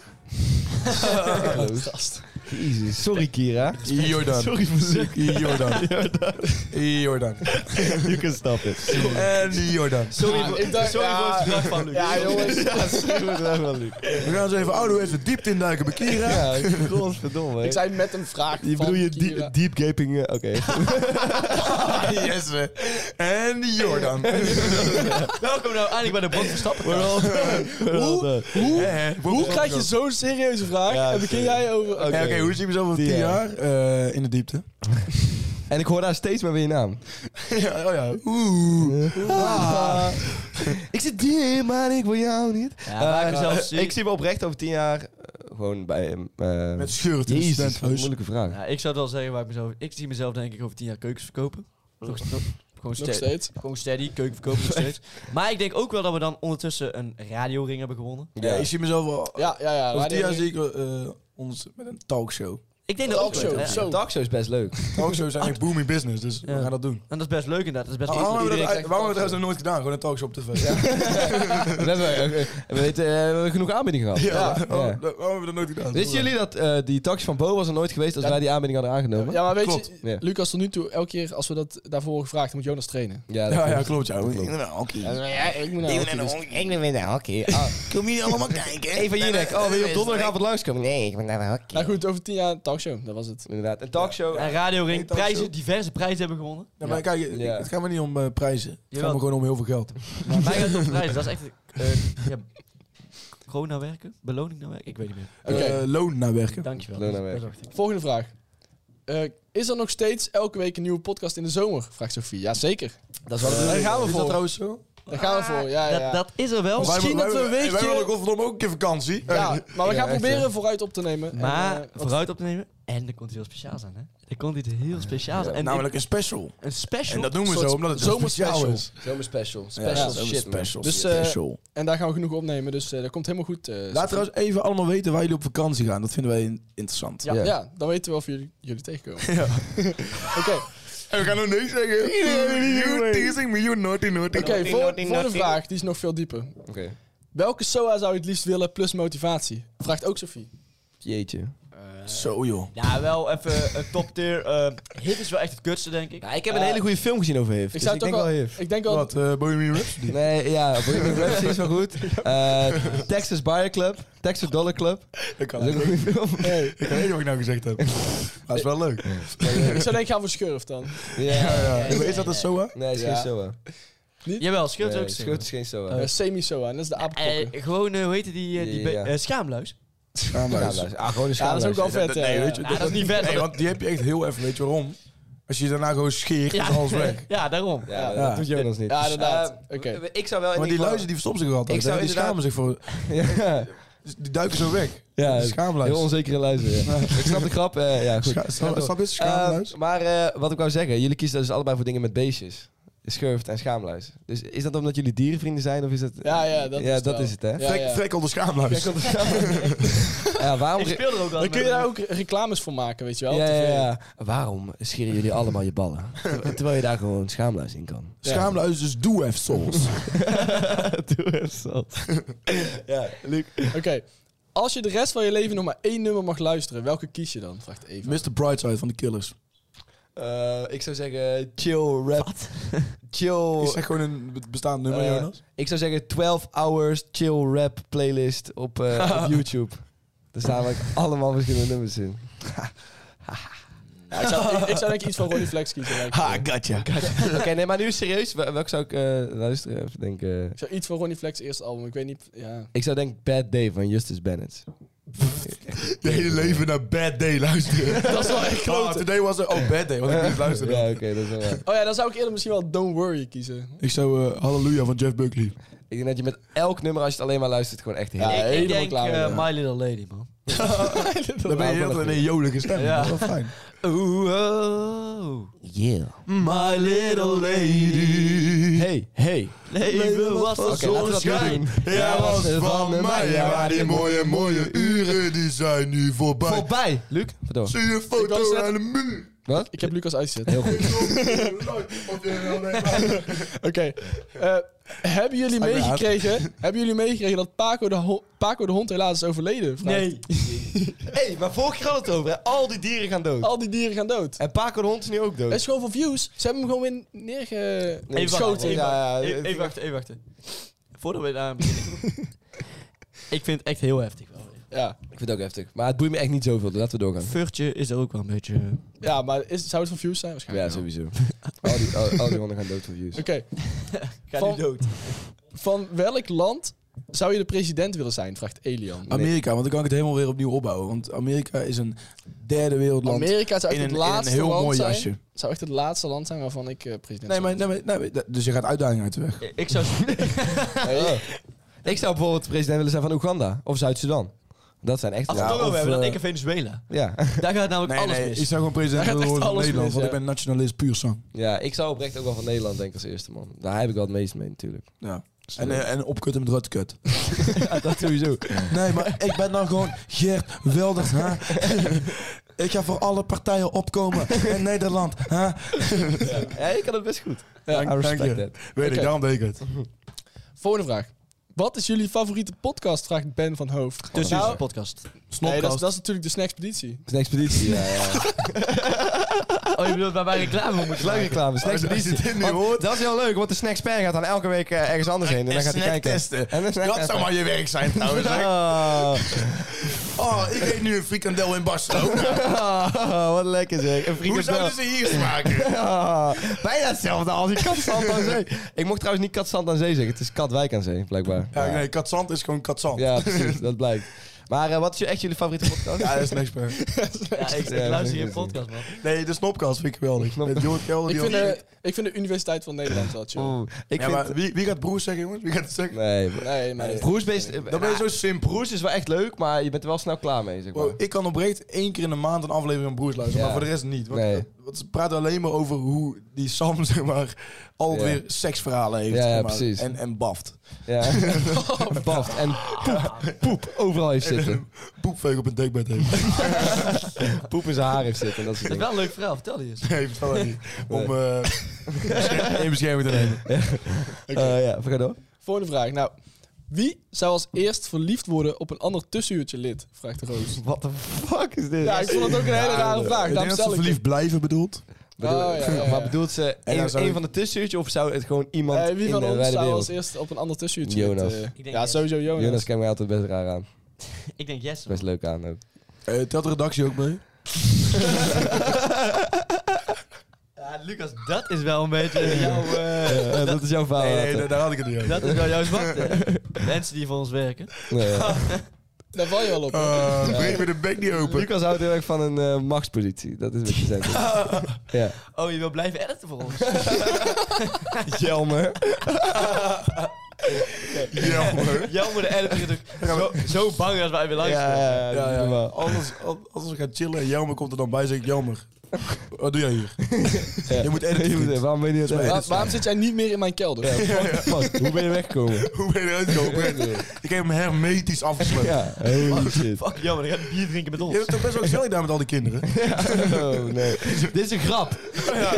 S5: Gast.
S2: Jezus. Sorry, Kira.
S3: Jordan.
S2: Sorry voor zeker.
S3: Jordan. Jordan.
S2: You can stop it.
S3: En Jordan.
S4: Sorry,
S5: Ah,
S4: voor-
S5: ik dacht-
S4: sorry voor
S5: ja.
S4: het gedrag van Lucas.
S5: Ja, jongens.
S2: Ja, schreeuw het wel van Luc.
S3: We gaan eens even ouderwets de diepte induiken bij Kira.
S2: Ja, godverdomme.
S5: Ik zei met een vraag
S2: je
S5: van
S2: bedoel je
S5: Kira.
S2: die- deep gaping... eh, Oké.
S5: (laughs)
S3: Yes, hè. En Jordan.
S4: Welkom nou eindelijk bij de Bond Verstappen.
S2: Hoe?
S5: Hoe,
S3: Hè, hè?
S5: hoe krijg je zo'n serieuze vraag
S2: Ja,
S5: en
S2: sorry.
S5: begin jij over...
S3: Ja, Oké, hoe zie je mezelf over
S2: Tien
S3: tien
S2: jaar.
S3: jaar? Eh, in de diepte.
S2: En ik hoor daar steeds maar weer je naam.
S3: ja, oh ja.
S2: Ah. Ik zit diep, maar ik wil jou niet.
S4: Ja, maak
S2: Eh,
S4: mezelf ziek.
S2: ik zie me oprecht over tien jaar eh, gewoon bij hem. eh,
S3: Met scheurt
S2: Jezus,
S3: in het
S2: wat een
S3: studentenhuis.
S2: moeilijke vraag.
S4: Ja, ik zou het wel zeggen waar ik mezelf... Ik zie mezelf denk ik over tien jaar keukens verkopen. Nog, nog- gewoon,
S5: Nog
S4: steady,
S5: steeds.
S4: gewoon steady, keuken
S2: (laughs)
S4: verkopen nog steeds. Maar ik denk ook wel dat we dan ondertussen een radioring hebben gewonnen.
S3: Ja, ik zie mezelf wel...
S5: Ja, ja, ja.
S3: over
S5: waar
S3: tien jaar
S5: die-
S3: zie ik eh, ons met een talkshow.
S4: Ik denk dat ook
S5: Talkshow,
S4: wel, hè.
S5: zo.
S2: Talkshow is best leuk.
S3: Talkshows zijn echt booming business, dus
S4: Ja.
S3: we gaan dat doen.
S4: En dat is best leuk inderdaad. Dat is best
S3: Waarom
S4: leuk.
S3: hebben we dat,
S4: Iedereen
S3: waarom hebben we
S4: krijgt-
S3: dat trouwens nog nooit gedaan? Gewoon een talkshow op tv. Ja.
S2: (laughs) We hebben, eh, we weten, eh, we hebben genoeg aanbiedingen gehad.
S3: Waarom, waarom hebben we oh, dat nooit gedaan?
S2: Wisten jullie dat eh, die taxi van Bo was er nooit geweest als
S5: Ja.
S2: wij die aanbieding hadden aangenomen?
S5: Ja, maar weet
S3: Klopt.
S5: je,
S2: Ja.
S5: Lucas, tot nu toe, elke keer als we dat daarvoor gevraagd, dan moet Jonas trainen.
S2: Ja, dat
S3: Ja, ja,
S2: klopt.
S3: klopt. Ja,
S2: klopt.
S5: ik moet naar hockey, dus-
S7: Ik ben weer naar hockey. Kom hier allemaal kijken.
S2: Even hier, Nek. Oh, wil je op donderdagavond langskomen? Nee,
S7: Nee, ik ben naar de hockey.
S5: Nou goed, over tien jaar talkshow, dat was het.
S2: inderdaad. Een talkshow.
S4: Een radioring,
S3: Eén talkshow.
S4: prijzen, diverse prijzen hebben we gewonnen.
S3: Ja, maar kijk,
S2: Ja.
S3: het gaat me niet om eh, prijzen. Het gaat
S4: Jawel.
S3: me gewoon om heel veel geld.
S4: (laughs) Maar wij gaan toch prijzen. Dat is echt... eh, ja, corona werken? Beloning naar werken? Ik weet niet meer.
S5: Oké,
S3: Eh, loon naar werken.
S4: Dankjewel.
S2: Corona
S4: Dat is-
S2: werken.
S4: dat is-
S5: volgende vraag. Eh, is er nog steeds elke week een nieuwe podcast in de zomer? Vraagt Sofie. Jazeker.
S2: Dat is wel
S5: Eh,
S2: een
S3: Daar
S2: leuke.
S3: gaan we
S5: Is dat
S3: voor.
S5: trouwens
S3: zo?
S5: Daar gaan we voor. Ja, ja, ja.
S4: Dat, dat is er wel.
S3: wij,
S4: Misschien
S3: wij,
S4: dat we een
S3: wij- Wij willen
S4: weekje...
S3: godverdomme ook een keer vakantie. Eh,
S5: Ja, maar we gaan
S2: echt,
S5: proberen vooruit op te nemen.
S4: Maar
S5: En, eh, wat-
S4: vooruit op te nemen. En er komt iets heel speciaals aan, hè? Er komt iets heel speciaals aan. En
S3: Namelijk een special.
S4: een special.
S3: En dat doen we
S5: soort
S3: zo, omdat het zo speciaal
S5: zomerspecial.
S3: is.
S2: Zomerspecial.
S5: Ja,
S2: Special shit, man.
S3: special.
S5: Dus, eh,
S3: special.
S5: en daar gaan we genoeg opnemen, dus eh, dat komt helemaal goed. eh, Sofie.
S3: Laat trouwens even allemaal weten waar jullie op vakantie gaan. Dat vinden wij in- interessant.
S5: ja,
S2: Ja.
S5: ja, dan weten we of jullie, jullie tegenkomen. Oké,
S3: En we gaan nog niks zeggen. You teasing me, you naughty, naughty.
S5: oké,
S7: Nothing,
S5: voor
S7: nothing,
S5: voor de
S7: nothing.
S5: vraag, die is nog veel dieper.
S2: Oké.
S5: Welke SOA zou je het liefst willen plus motivatie? Vraagt ook Sofie.
S2: Jeetje.
S3: Zo joh.
S4: Ja, wel even een top tier. eh hit is wel echt het kutste, denk ik. Eh,
S2: Ja, ik heb een hele goede film gezien over Hif.
S5: Ik
S2: dus
S5: zou
S2: Eh, ik
S5: toch
S2: denk wel Hif.
S5: Ik denk wel...
S3: Wat, eh Bohemian Rhapsody?
S2: Nee, ja, Bohemian Rhapsody is wel goed. Eh, Texas Buyer Club, Texas Dollar Club.
S3: Dat kan
S2: Dat is ook een goede film.
S5: Hey,
S3: Ik weet niet wat ik nou gezegd heb. (laughs) Maar is wel leuk.
S5: (laughs) ik zou denk gaan voor Schurf dan.
S2: Ja, ja.
S3: Is dat een SOA?
S2: Nee, het is
S5: Ja.
S2: geen SOA.
S4: Jawel, scheelt
S2: Nee,
S4: ook
S2: Schut
S4: zeker.
S2: is geen SOA.
S5: Eh, Semi-SOA, en dat is de apenklokken.
S4: Eh, gewoon, eh, hoe heet die? eh, die be-
S2: Ja.
S4: eh, schaamluis.
S3: Ja, maar
S2: Ja, luister. Ah, gewoon een
S5: Ja, dat is ook wel
S2: schaamluis.
S5: vet.
S3: Nee,
S5: eh,
S3: weet je,
S4: Ja, dat is niet vet.
S3: Nee, want die heb je echt heel even. Weet je waarom? Als je daarna gewoon scheert, is alles (laughs) weg.
S4: (laughs) (laughs) Ja, daarom.
S2: Ja, maar
S5: Ja.
S2: dat doet Jonas niet.
S5: Ja, inderdaad.
S2: Eh,
S5: Oké.
S2: w- Ik zou wel in
S3: Maar die
S2: ieder
S3: luizen
S2: geval-
S3: die verstopt zich altijd.
S2: Ik zou
S3: die schamen zich voor.
S2: Ja,
S3: dus Die duiken zo (laughs) weg.
S2: ja
S3: Die schaamluis.
S2: heel onzekere luizen. ja. Ik snap de grap. eh, ja, goed.
S3: Scha-
S2: Ga door.
S3: Snap je? Schaamluis.
S2: Eh, maar eh, wat ik wou zeggen, jullie kiezen dus allebei voor dingen met beestjes. Schurft en schaamluis. Dus is dat omdat jullie dierenvrienden zijn? Of is dat...
S5: Ja, ja, dat is het wel.
S2: het, hè?
S5: Ja,
S3: Vrek-
S5: ja.
S3: Frekkel de schaamluis.
S2: Ja, waarom...
S4: Ik speel er ook wel.
S5: Dan kun je
S4: mee.
S5: daar ook reclames voor maken, weet je wel.
S2: Ja,
S5: op
S2: ja,
S5: tv.
S2: ja. Waarom scheren jullie allemaal je (laughs) ballen? Ter- Terwijl je daar gewoon schaamluis in kan.
S3: Schaamluis, dus doe even (laughs) soms.
S2: Doe eens dat. ja, Luc.
S5: Oké. Als je de rest van je leven nog maar één nummer mag luisteren, welke kies je dan? Vraagt Eva.
S3: Mr. Brightside van de Killers.
S2: Eh, ik zou zeggen chill rap. Chill.
S3: (laughs) Is dat gewoon een be- bestaand nummer,
S2: Eh,
S3: Jonas?
S2: Ik zou zeggen 12 hours chill rap playlist op,
S3: (laughs)
S2: eh, op YouTube. Daar staan ook allemaal verschillende nummers in.
S5: Ja, ik, zou, ik, ik zou denk ik iets van
S2: (laughs)
S5: Ronnie Flex kiezen. lijkt me.
S2: gotcha. Oké, nee, maar nu serieus. wel- Welk zou ik eh, luisteren? Even denken.
S5: Ik zou iets van Ronnie Flex eerste album. Ik weet niet. Ja.
S2: Ik zou denk Bad Day van Justice Bennett.
S3: De hele leven naar Bad Day luisteren. (laughs) dat is wel echt klote. today was er... Oh, Bad Day. Wat ik niet luisteren.
S2: Ja, oké, dat is wel waar.
S5: Oh ja, dan zou ik eerder misschien wel Don't Worry kiezen.
S3: Ik zou eh, Halleluja van Jeff Buckley.
S2: Ik denk dat je met elk nummer, als je het alleen maar luistert, gewoon echt heel...
S5: Ja,
S4: ik, ik
S5: helemaal
S4: denk
S5: klaar
S4: eh,
S5: mee,
S2: (laughs)
S5: ja.
S4: My Little Lady, man.
S3: Dan ben je heel in een jolige stem.
S4: Ja.
S3: Dat is wel fijn.
S4: Oeh, oh.
S7: Yeah.
S4: My Little Lady.
S2: Hey, hey.
S4: Leven was van
S2: Oké, laten we dat weer
S4: zonneschijn.
S2: doen.
S3: Jij was van mij. Ja, maar die mooie, mooie uren die zijn nu voorbij.
S4: Oh,
S2: Voorbij, Luc. Verdoor.
S3: Zie je
S5: Ik was
S3: foto
S5: net-
S3: aan de muur.
S2: Wat?
S5: Ik heb Lucas uitgezet.
S2: Heel goed.
S5: Oké. eh, hebben jullie meegekregen? Hebben jullie meegekregen dat Paco de, ho- Paco de hond helaas is overleden? Vraagt-
S2: Hé, hey, maar vorige keer hadden we het over, hè. Al die dieren gaan
S4: Oh.
S2: dood.
S5: Al die dieren gaan dood.
S2: En Paco de hond is nu ook dood.
S5: Het is gewoon voor views. Ze hebben hem gewoon weer
S2: Nee,
S4: Even
S5: neergeschoten.
S4: wachten, even,
S2: Ja, ja,
S4: wachten. Even-
S2: ja.
S4: even wachten, even wachten. Voordat we daar beginnen. ik vind het echt heel heftig wel.
S5: ja.
S2: Ik vind het ook heftig. Maar het boeit me echt niet zoveel. dus Laten we doorgaan.
S4: Furtje is er ook wel een beetje...
S5: ja, maar is, zou het voor views zijn? Waarschijnlijk.
S2: Ja, sowieso. (laughs) al, die, al, al die honden gaan dood van views.
S5: Oké.
S3: (laughs)
S4: Ga
S5: Van-
S4: nu dood.
S5: Van welk land zou je de president willen zijn? Vraagt Elian.
S3: Amerika, want dan kan ik het helemaal weer opnieuw opbouwen. Want Amerika is een derde wereldland.
S5: Amerika zou echt
S3: in een- in
S5: het
S3: een
S5: laatste
S3: heel
S5: land
S3: mooi
S5: zijn.
S3: jasje.
S5: Zou echt het laatste land zijn waarvan ik eh, president
S3: Nee,
S5: zou
S3: maar,
S5: willen
S3: nee, maar, nee, maar- dus je gaat uitdaging uit de weg.
S4: Ik zou...
S2: Ik zou bijvoorbeeld president willen zijn van Oeganda of Zuid-Sudan. Dat zijn echt.
S4: Als we
S2: Ja,
S4: het toch
S3: of,
S4: over hebben, dan
S3: eh,
S4: denk ik aan Venezuela.
S2: ja.
S4: Daar gaat namelijk alles mis.
S3: ik zou gewoon
S5: (laughs)
S3: president
S5: Daar gaat
S3: willen
S5: echt
S3: worden van
S5: alles
S3: Nederland,
S5: mis,
S3: want ik
S5: ja.
S3: ben nationalist puur zang.
S2: ja, ik zou oprecht ook wel van Nederland denken als eerste man. Daar heb ik wel het meest mee natuurlijk.
S3: Ja. En, eh, en opkutten met
S5: (laughs)
S3: rotkut.
S2: dat sowieso.
S3: Nee, maar ik ben dan gewoon Gert Wilders,
S5: (laughs)
S3: hè? ik ga voor alle partijen opkomen in Nederland, hè?
S2: Ja, ik kan het best goed.
S5: Ja,
S2: I respect
S3: dank
S2: that.
S3: Weet
S5: Oké.
S3: ik, daarom denk ik het.
S5: zijn? Volgende vraag. Wat is jullie favoriete podcast? Vraagt Ben van Hoofd.
S4: (laughs) Tussen
S5: Nou,
S4: onze podcast.
S5: nee, dat, is,
S3: Snopkast.
S5: dat is natuurlijk de Snackspeditie.
S2: Het is een expeditie. Ja, ja.
S4: Oh, je bedoelt waar wij reclame voor moeten
S2: Leuke reclame. Snacks
S3: Als je dit nu
S2: Want
S3: hoort.
S2: Dat is heel leuk, want de snacksper gaat dan elke week eh, ergens anders heen. En dan gaat hij kijken. En een snack
S3: dat zou maar je werk zijn trouwens.
S2: (laughs)
S3: hè.
S2: Ah,
S3: Oh, ik eet nu een frikandel in
S2: (laughs)
S3: Barcelona.
S2: ah, wat lekker zeg. Een
S3: Hoe
S2: frikandel.
S3: zouden ze hier smaken?
S2: Ah, bijna hetzelfde als die kat Zand aan Zee. Ik mocht trouwens niet kat Zand aan Zee zeggen. Het is Katwijk aan Zee, blijkbaar.
S3: Ja, nee, katzand is gewoon katzand. Ja,
S2: Ja, precies, dat blijkt. Maar eh, wat is je- echt jullie favoriete podcast?
S3: dat is niks meer.
S4: Ja, ik, ik luister hier een podcast, man.
S3: Nee, de snopkast vind ik geweldig.
S2: Snop-
S3: Met Jorrit Kelder.
S5: Ik
S3: die
S5: vind,
S3: al-
S5: eh, ik vind de Universiteit van Nederland wel
S3: Oh.
S5: chill.
S2: Oeh, ik
S3: ja,
S2: vind...
S3: maar wie, wie gaat broers zeggen, jongens? Wie gaat het zeggen?
S2: Nee, bro.
S5: Nee, maar...
S2: Broesbeest... eh,
S3: Dan ben je
S2: nou,
S3: zo simpel.
S2: Broes is wel echt leuk, maar je bent er wel snel klaar mee, zeg maar.
S3: Bro, ik kan oprecht één keer in de maand een aflevering van Broers luisteren,
S2: Ja.
S3: maar voor de rest niet. Want,
S2: Nee.
S3: want ze praten alleen maar over hoe die Sam, (laughs) zeg maar, altijd
S2: Ja.
S3: weer seksverhalen heeft.
S2: Ja, ja,
S3: zeg maar,
S2: precies.
S3: En, en baft. (laughs)
S2: Ja. (laughs) Baft en poep, poep overal heeft zitten.
S3: eh, Poepveeg op een dekbed heeft.
S2: Poep in zijn haar heeft zitten, dat soort dingen.
S4: Dat is wel een leuk verhaal, vertel die eens.
S3: nee, vertel dat niet. Om eh in bescherming te nemen.
S2: (laughs)
S3: (laughs)
S2: Eh, ja, ga door.
S5: Volgende vraag. Nou, wie zou als eerst verliefd worden op een ander tussenuurtje lid? Vraagt Roos.
S2: What the fuck is dit?
S5: (laughs) Ja, ik vond het ook een hele rare vraag.
S3: Ik denk
S5: Daarom
S3: dat
S5: stel
S3: ze
S5: ik
S3: verliefd blijven bedoelt.
S2: Bedoel-
S5: Oh, ja, ja, ja.
S2: Maar bedoelt ze
S3: dan
S2: een,
S3: zou
S2: een
S3: ik-
S2: van de tussenuurtje of zou het gewoon
S5: het.
S2: iemand
S5: Eh, wie
S2: in
S5: van
S2: de
S5: ons
S2: wijde
S5: zou
S2: wereld?
S5: als eerst op een ander tussenuurtje
S2: Jonas.
S5: lid? eh,
S4: denk
S5: ja,
S4: Jess.
S5: sowieso Jonas.
S2: Jonas kijkt mij altijd best raar aan.
S4: Ik denk yes, man.
S2: Best leuk aan ook.
S3: Eh telt de redactie ook mee?
S4: (laughs) Ja, Lucas, dat is wel een
S2: (laughs)
S4: beetje jouw... eh,
S2: Eh, dat is jouw verhaal.
S3: Nee,
S2: Atte.
S3: nee, daar had ik het niet over.
S4: dat is wel jouw zwakte. Mensen die voor ons werken.
S2: Nee, ja.
S5: Daar val je wel op.
S3: Eh, breek me de bek niet open.
S2: Lucas houdt heel erg van een eh, machtspositie. Dat is wat je zegt.
S4: (laughs)
S2: ja.
S4: Oh, je wil blijven editen voor
S2: (laughs)
S4: ons?
S2: Jelmer.
S3: Ja, hoor.
S4: Jammer, de editor is ook zo, zo bang dat wij weer langs
S2: Ja,
S4: komen.
S2: ja,
S3: Ja, ja.
S2: normaal.
S3: Anders, al- anders we gaan chillen en Jelmer komt er dan bij en zegt... Jelmer, wat doe jij hier?
S2: Ja.
S3: Je moet editen,
S2: Je
S3: vriend.
S2: waarom ben je niet aan het
S5: Waar-
S2: editen?
S5: waarom zit jij niet meer in mijn kelder?
S2: Fuck, fuck, Hoe ben je
S3: (laughs)
S2: weggekomen?
S3: Hoe ben je eruit gekomen? Ik heb hem hermetisch afgesloten.
S2: Ja, holy shit.
S4: Fuck, jammer, dan gaat bier drinken met
S3: Je
S4: ons.
S3: hebt het toch best wel gezellig daar met al die kinderen?
S2: Oh, nee. Dit is een grap. Dit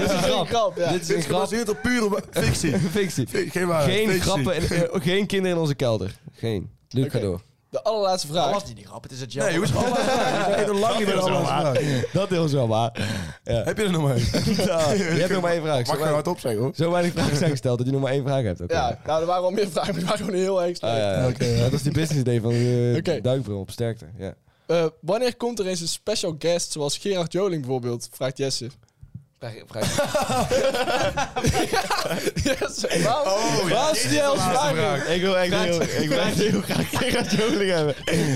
S2: is een grap.
S5: Grap, ja.
S2: Dit is
S3: Dit
S2: een
S3: is
S2: grap.
S3: gebaseerd op pure wa- fictie.
S2: Fictie.
S3: Geen waarheid.
S2: Geen
S3: fictie.
S2: grappen, en, eh, geen kinderen in onze kelder. Geen. Luc,
S5: Oké.
S2: ga door.
S5: De allerlaatste
S4: Dat
S5: vraag.
S4: was niet die grap, het is het
S3: Nee,
S4: jammer.
S3: hoe is het allemaal vraag? Ik ben nog lang niet bij de
S2: wel
S3: allerlaatste
S2: waar.
S3: vraag.
S2: Dat deel is wel waar.
S3: Heb je er nog maar (laughs) één?
S2: Ja, je hebt nog maar één vraag.
S3: Mag
S2: Zo
S3: ik nou
S2: weinig,
S3: hard opzeggen, hoor.
S2: zo weinig vragen zijn gesteld dat je nog maar één vraag hebt. Oké.
S5: Ja, nou, er waren wel meer vragen, maar die waren gewoon heel erg
S2: Ah,
S5: slecht.
S2: ja, ja.
S3: Oké.
S2: Dat is die business idee van eh
S5: Oké.
S2: Duikbril op sterkte. Ja.
S5: Eh, wanneer komt er eens een special guest zoals Gerard Joling bijvoorbeeld? Vraagt Jesse. (laughs) Jesse, waarom, waarom stel je als vraag? in?
S2: Ik wil echt heel, ik wil echt heel graag Gerard Joling hebben.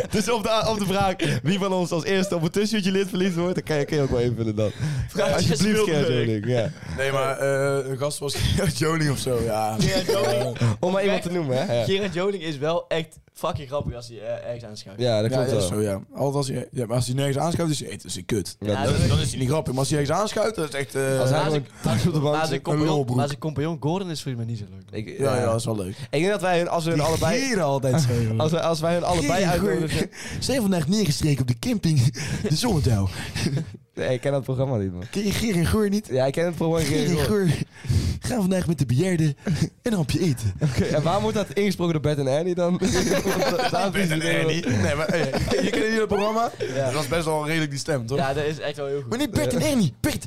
S2: Dus op de, op de vraag wie van ons als eerste op een tussenuurtje lid verliefd wordt, dan kan je, kan je ook wel invullen dan.
S4: Vraag Jesse
S2: Alsjeblieft Gerard
S4: Wildenburg.
S2: Joling. Ja.
S3: Nee, maar eh, een gast was (laughs) Gerard Joling of zo, ja.
S2: Om maar iemand te noemen, hè. Ja,
S4: Gerard Joling is wel echt fucking grappig als hij eh, ergens aanschuift.
S2: ja dat
S3: Ja,
S2: klopt
S3: dat is
S2: wel.
S3: zo, ja. Altijd als hij, ja, maar als hij nergens aanschuift, is hij, eh, is hij kut.
S2: Ja,
S3: Dan, dan is hij niet grappig. Maar als hij ergens aanschuift, dat is echt... eh,
S2: Als hij
S4: Maar
S2: gewoon thuis op de bank
S4: Maar
S2: zit,
S4: zijn
S3: een
S4: compagnon,
S3: lulbroek.
S4: maar zijn compagnon Gordon is volgens mij niet zo leuk.
S2: Ik,
S3: ja, ja, dat is wel leuk.
S2: ik denk dat wij hun, als we hun allebei,
S3: Gieren altijd zo, joh.
S2: als wij, als wij hun allebei
S3: Gieren, goeie.
S2: uitnodigen...
S3: Stefan heeft neergestreken op de camping, de zonnetuil.
S2: Nee, ik ken dat programma niet, man.
S3: Ken je Geer en Geur niet?
S2: Ja, ik ken het programma (laughs)
S3: Geer
S2: geen hoor.
S3: en Geur gaan vandaag met de bejaarden een hapje eten.
S2: Oké, (laughs) En waarom wordt dat ingesproken door Bert en Ernie dan? Bert
S3: Nee, maar hey, je kent niet het programma? Dat was best wel redelijk die stem, toch?
S4: Ja, dat is echt wel heel goed.
S3: Maar niet Bert en Ernie, Bert.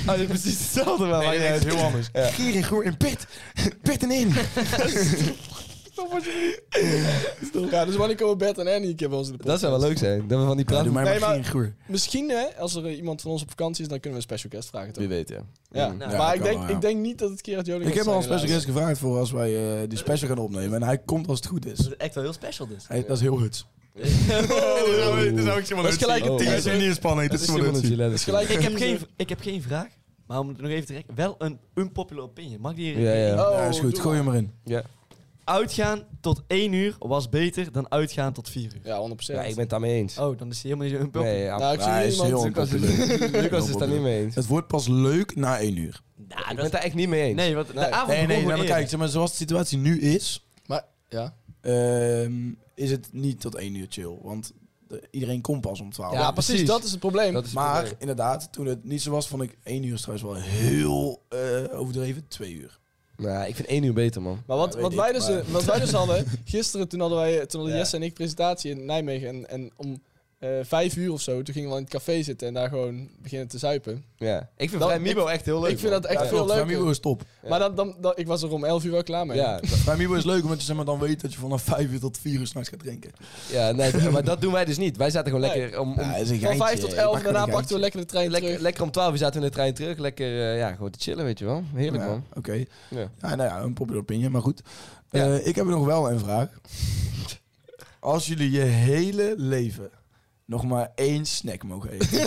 S2: Oh, dat is precies hetzelfde, maar maakt niet uit.
S3: heel anders. Geer en Geur en (laughs) Bert. Bert en Ernie.
S5: Ja, dus wanneer komen Bert en Annie een keer wel eens in de
S2: Dat zou wel leuk zijn. Dat we van die praten.
S3: doe mij
S5: Nee,
S3: maar
S5: maar-
S3: Geer en Geur.
S5: podcast? Misschien hè, als er eh, iemand van ons op vakantie is, dan kunnen we een special guest vragen toch?
S2: Wie weet, ja.
S5: Ja.
S2: Mm.
S4: Nou,
S3: dat
S5: maar ik
S3: kan
S5: denk,
S3: wel, ja.
S5: ik denk niet dat het Gerard Joling
S3: Ik
S5: gaat
S3: heb al
S5: zijn,
S3: een special
S5: helaas.
S3: guest gevraagd voor als wij eh, die special gaan opnemen. En hij komt als het goed is.
S4: Dat is echt wel heel special
S3: (laughs)
S4: dus.
S3: Hij, dat is heel huts.
S2: dan zou
S3: ik zo wel
S5: Dat is gelijk
S2: Oh.
S5: een
S2: Ja,
S5: teaser.
S3: niet in spanning,
S2: Dat is Simonetje, let
S5: is
S2: us
S5: gelijk
S2: go.
S4: ik, heb
S5: een
S4: geen,
S5: teaser.
S4: ik heb geen vraag, maar om het nog even te rekken. Wel een unpopular opinion. Mag ik die hier?
S2: Ja, ja.
S5: Oh,
S3: Ja, is goed.
S5: doe
S3: Gooi hem erin.
S2: ja.
S4: Uitgaan tot 1 uur was beter dan uitgaan tot 4 uur.
S5: Ja, 100%.
S2: Ja, ik ben het daarmee eens.
S4: Oh, dan is hij helemaal niet zo unpopular.
S2: Nee, ja.
S5: Nou, ik zie
S3: Ja, hij
S5: nu
S3: is
S5: iemand...
S3: heel
S2: Lucas is-
S3: onpopulair.
S2: Lucas is daar niet mee eens.
S3: Het wordt pas leuk na één uur.
S4: Nou,
S2: Ik ben
S4: dat is-
S2: het daar echt niet mee eens.
S4: nee, want de
S5: Nee.
S4: avond
S3: Nee,
S4: begon
S3: nee, nou,
S4: gewoon
S3: maar
S4: eerder.
S3: kijk, zeg maar, zoals de situatie nu is,
S5: Maar, ja.
S3: ehm, is het niet tot één uur chill. Want de- iedereen komt pas om twaalf.
S5: Ja,
S2: Ja,
S5: precies.
S2: precies.
S5: Dat is het probleem.
S2: Dat is het
S3: maar
S2: probleem.
S3: inderdaad, toen het niet zo was, vond ik één uur is trouwens wel heel eh, overdreven. Twee uur.
S2: Nou, ik vind één uur beter, man.
S5: Maar wat,
S3: Ja, weet
S5: wat, wij
S3: ik,
S5: dus,
S3: maar-
S5: eh, wat wij dus
S3: (laughs)
S5: hadden, gisteren toen hadden, wij, eh, toen hadden
S2: Ja.
S5: Jesse en ik presentatie in Nijmegen. En, en om eh, vijf uur of zo, toen gingen we in het café zitten en daar gewoon beginnen te zuipen.
S2: Ja. Ik vind
S5: Dan-
S2: Vrij Mibo echt heel leuk,
S5: ik vind
S2: man.
S5: dat echt veel
S3: Klopt, Flamingo
S5: leuker.
S3: is top.
S5: Maar dan, dan, dan, ik was er om elf uur wel klaar mee.
S2: Ja,
S3: Flamingo is leuk, omdat je zeg maar, dan weet dat je vanaf vijf uur tot vier uur s'nachts gaat drinken.
S2: ja nee, maar dat doen wij dus niet. Wij zaten gewoon
S5: Nee.
S2: lekker om, om
S3: Ja, dat is een
S5: Van
S3: geintje.
S5: vijf tot
S3: Ik
S5: elf,
S3: maak gewoon
S5: daarna
S3: een
S5: pakten we
S3: geintje.
S5: lekker de trein
S2: lekker,
S5: terug.
S2: lekker om twaalf uur zaten we in de trein terug. Lekker, eh, ja, gewoon te chillen, weet je wel. Heerlijk, man.
S3: Ja, Oké.
S2: Ja.
S3: Ja, nou ja, een popular opinion, maar goed.
S2: Ja.
S3: Eh, ik heb nog wel een vraag. Als jullie je hele leven nog maar één snack mogen eten,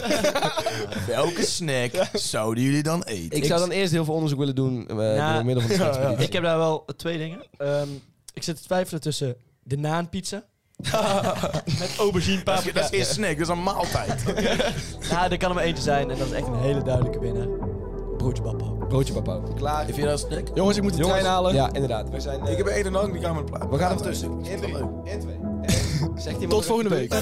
S3: (laughs) welke snack zouden jullie dan eten?
S2: Ik, zou dan eerst heel veel onderzoek willen doen eh,
S4: Nou,
S2: door middel van de
S5: (laughs)
S2: stadspolitie.
S4: Ik heb daar wel twee dingen. Ehm, ik zit te twijfelen tussen de naanpizza. met aubergine
S3: dat, is,
S4: paprika.
S3: dat is geen snack, dat is een maaltijd.
S4: Nou, er kan er maar eentje zijn en dat is echt een hele duidelijke winnaar. Broodje Bappo.
S2: Broodje papa.
S3: Klaar. Vind je dat een snack?
S5: Jongens, ik moet de trein halen.
S2: Ja, inderdaad. We zijn, eh,
S3: Ik heb één en dan die kamer plaat.
S2: We gaan hem
S3: tussen.
S2: Zegt iemand
S5: Tot volgende week.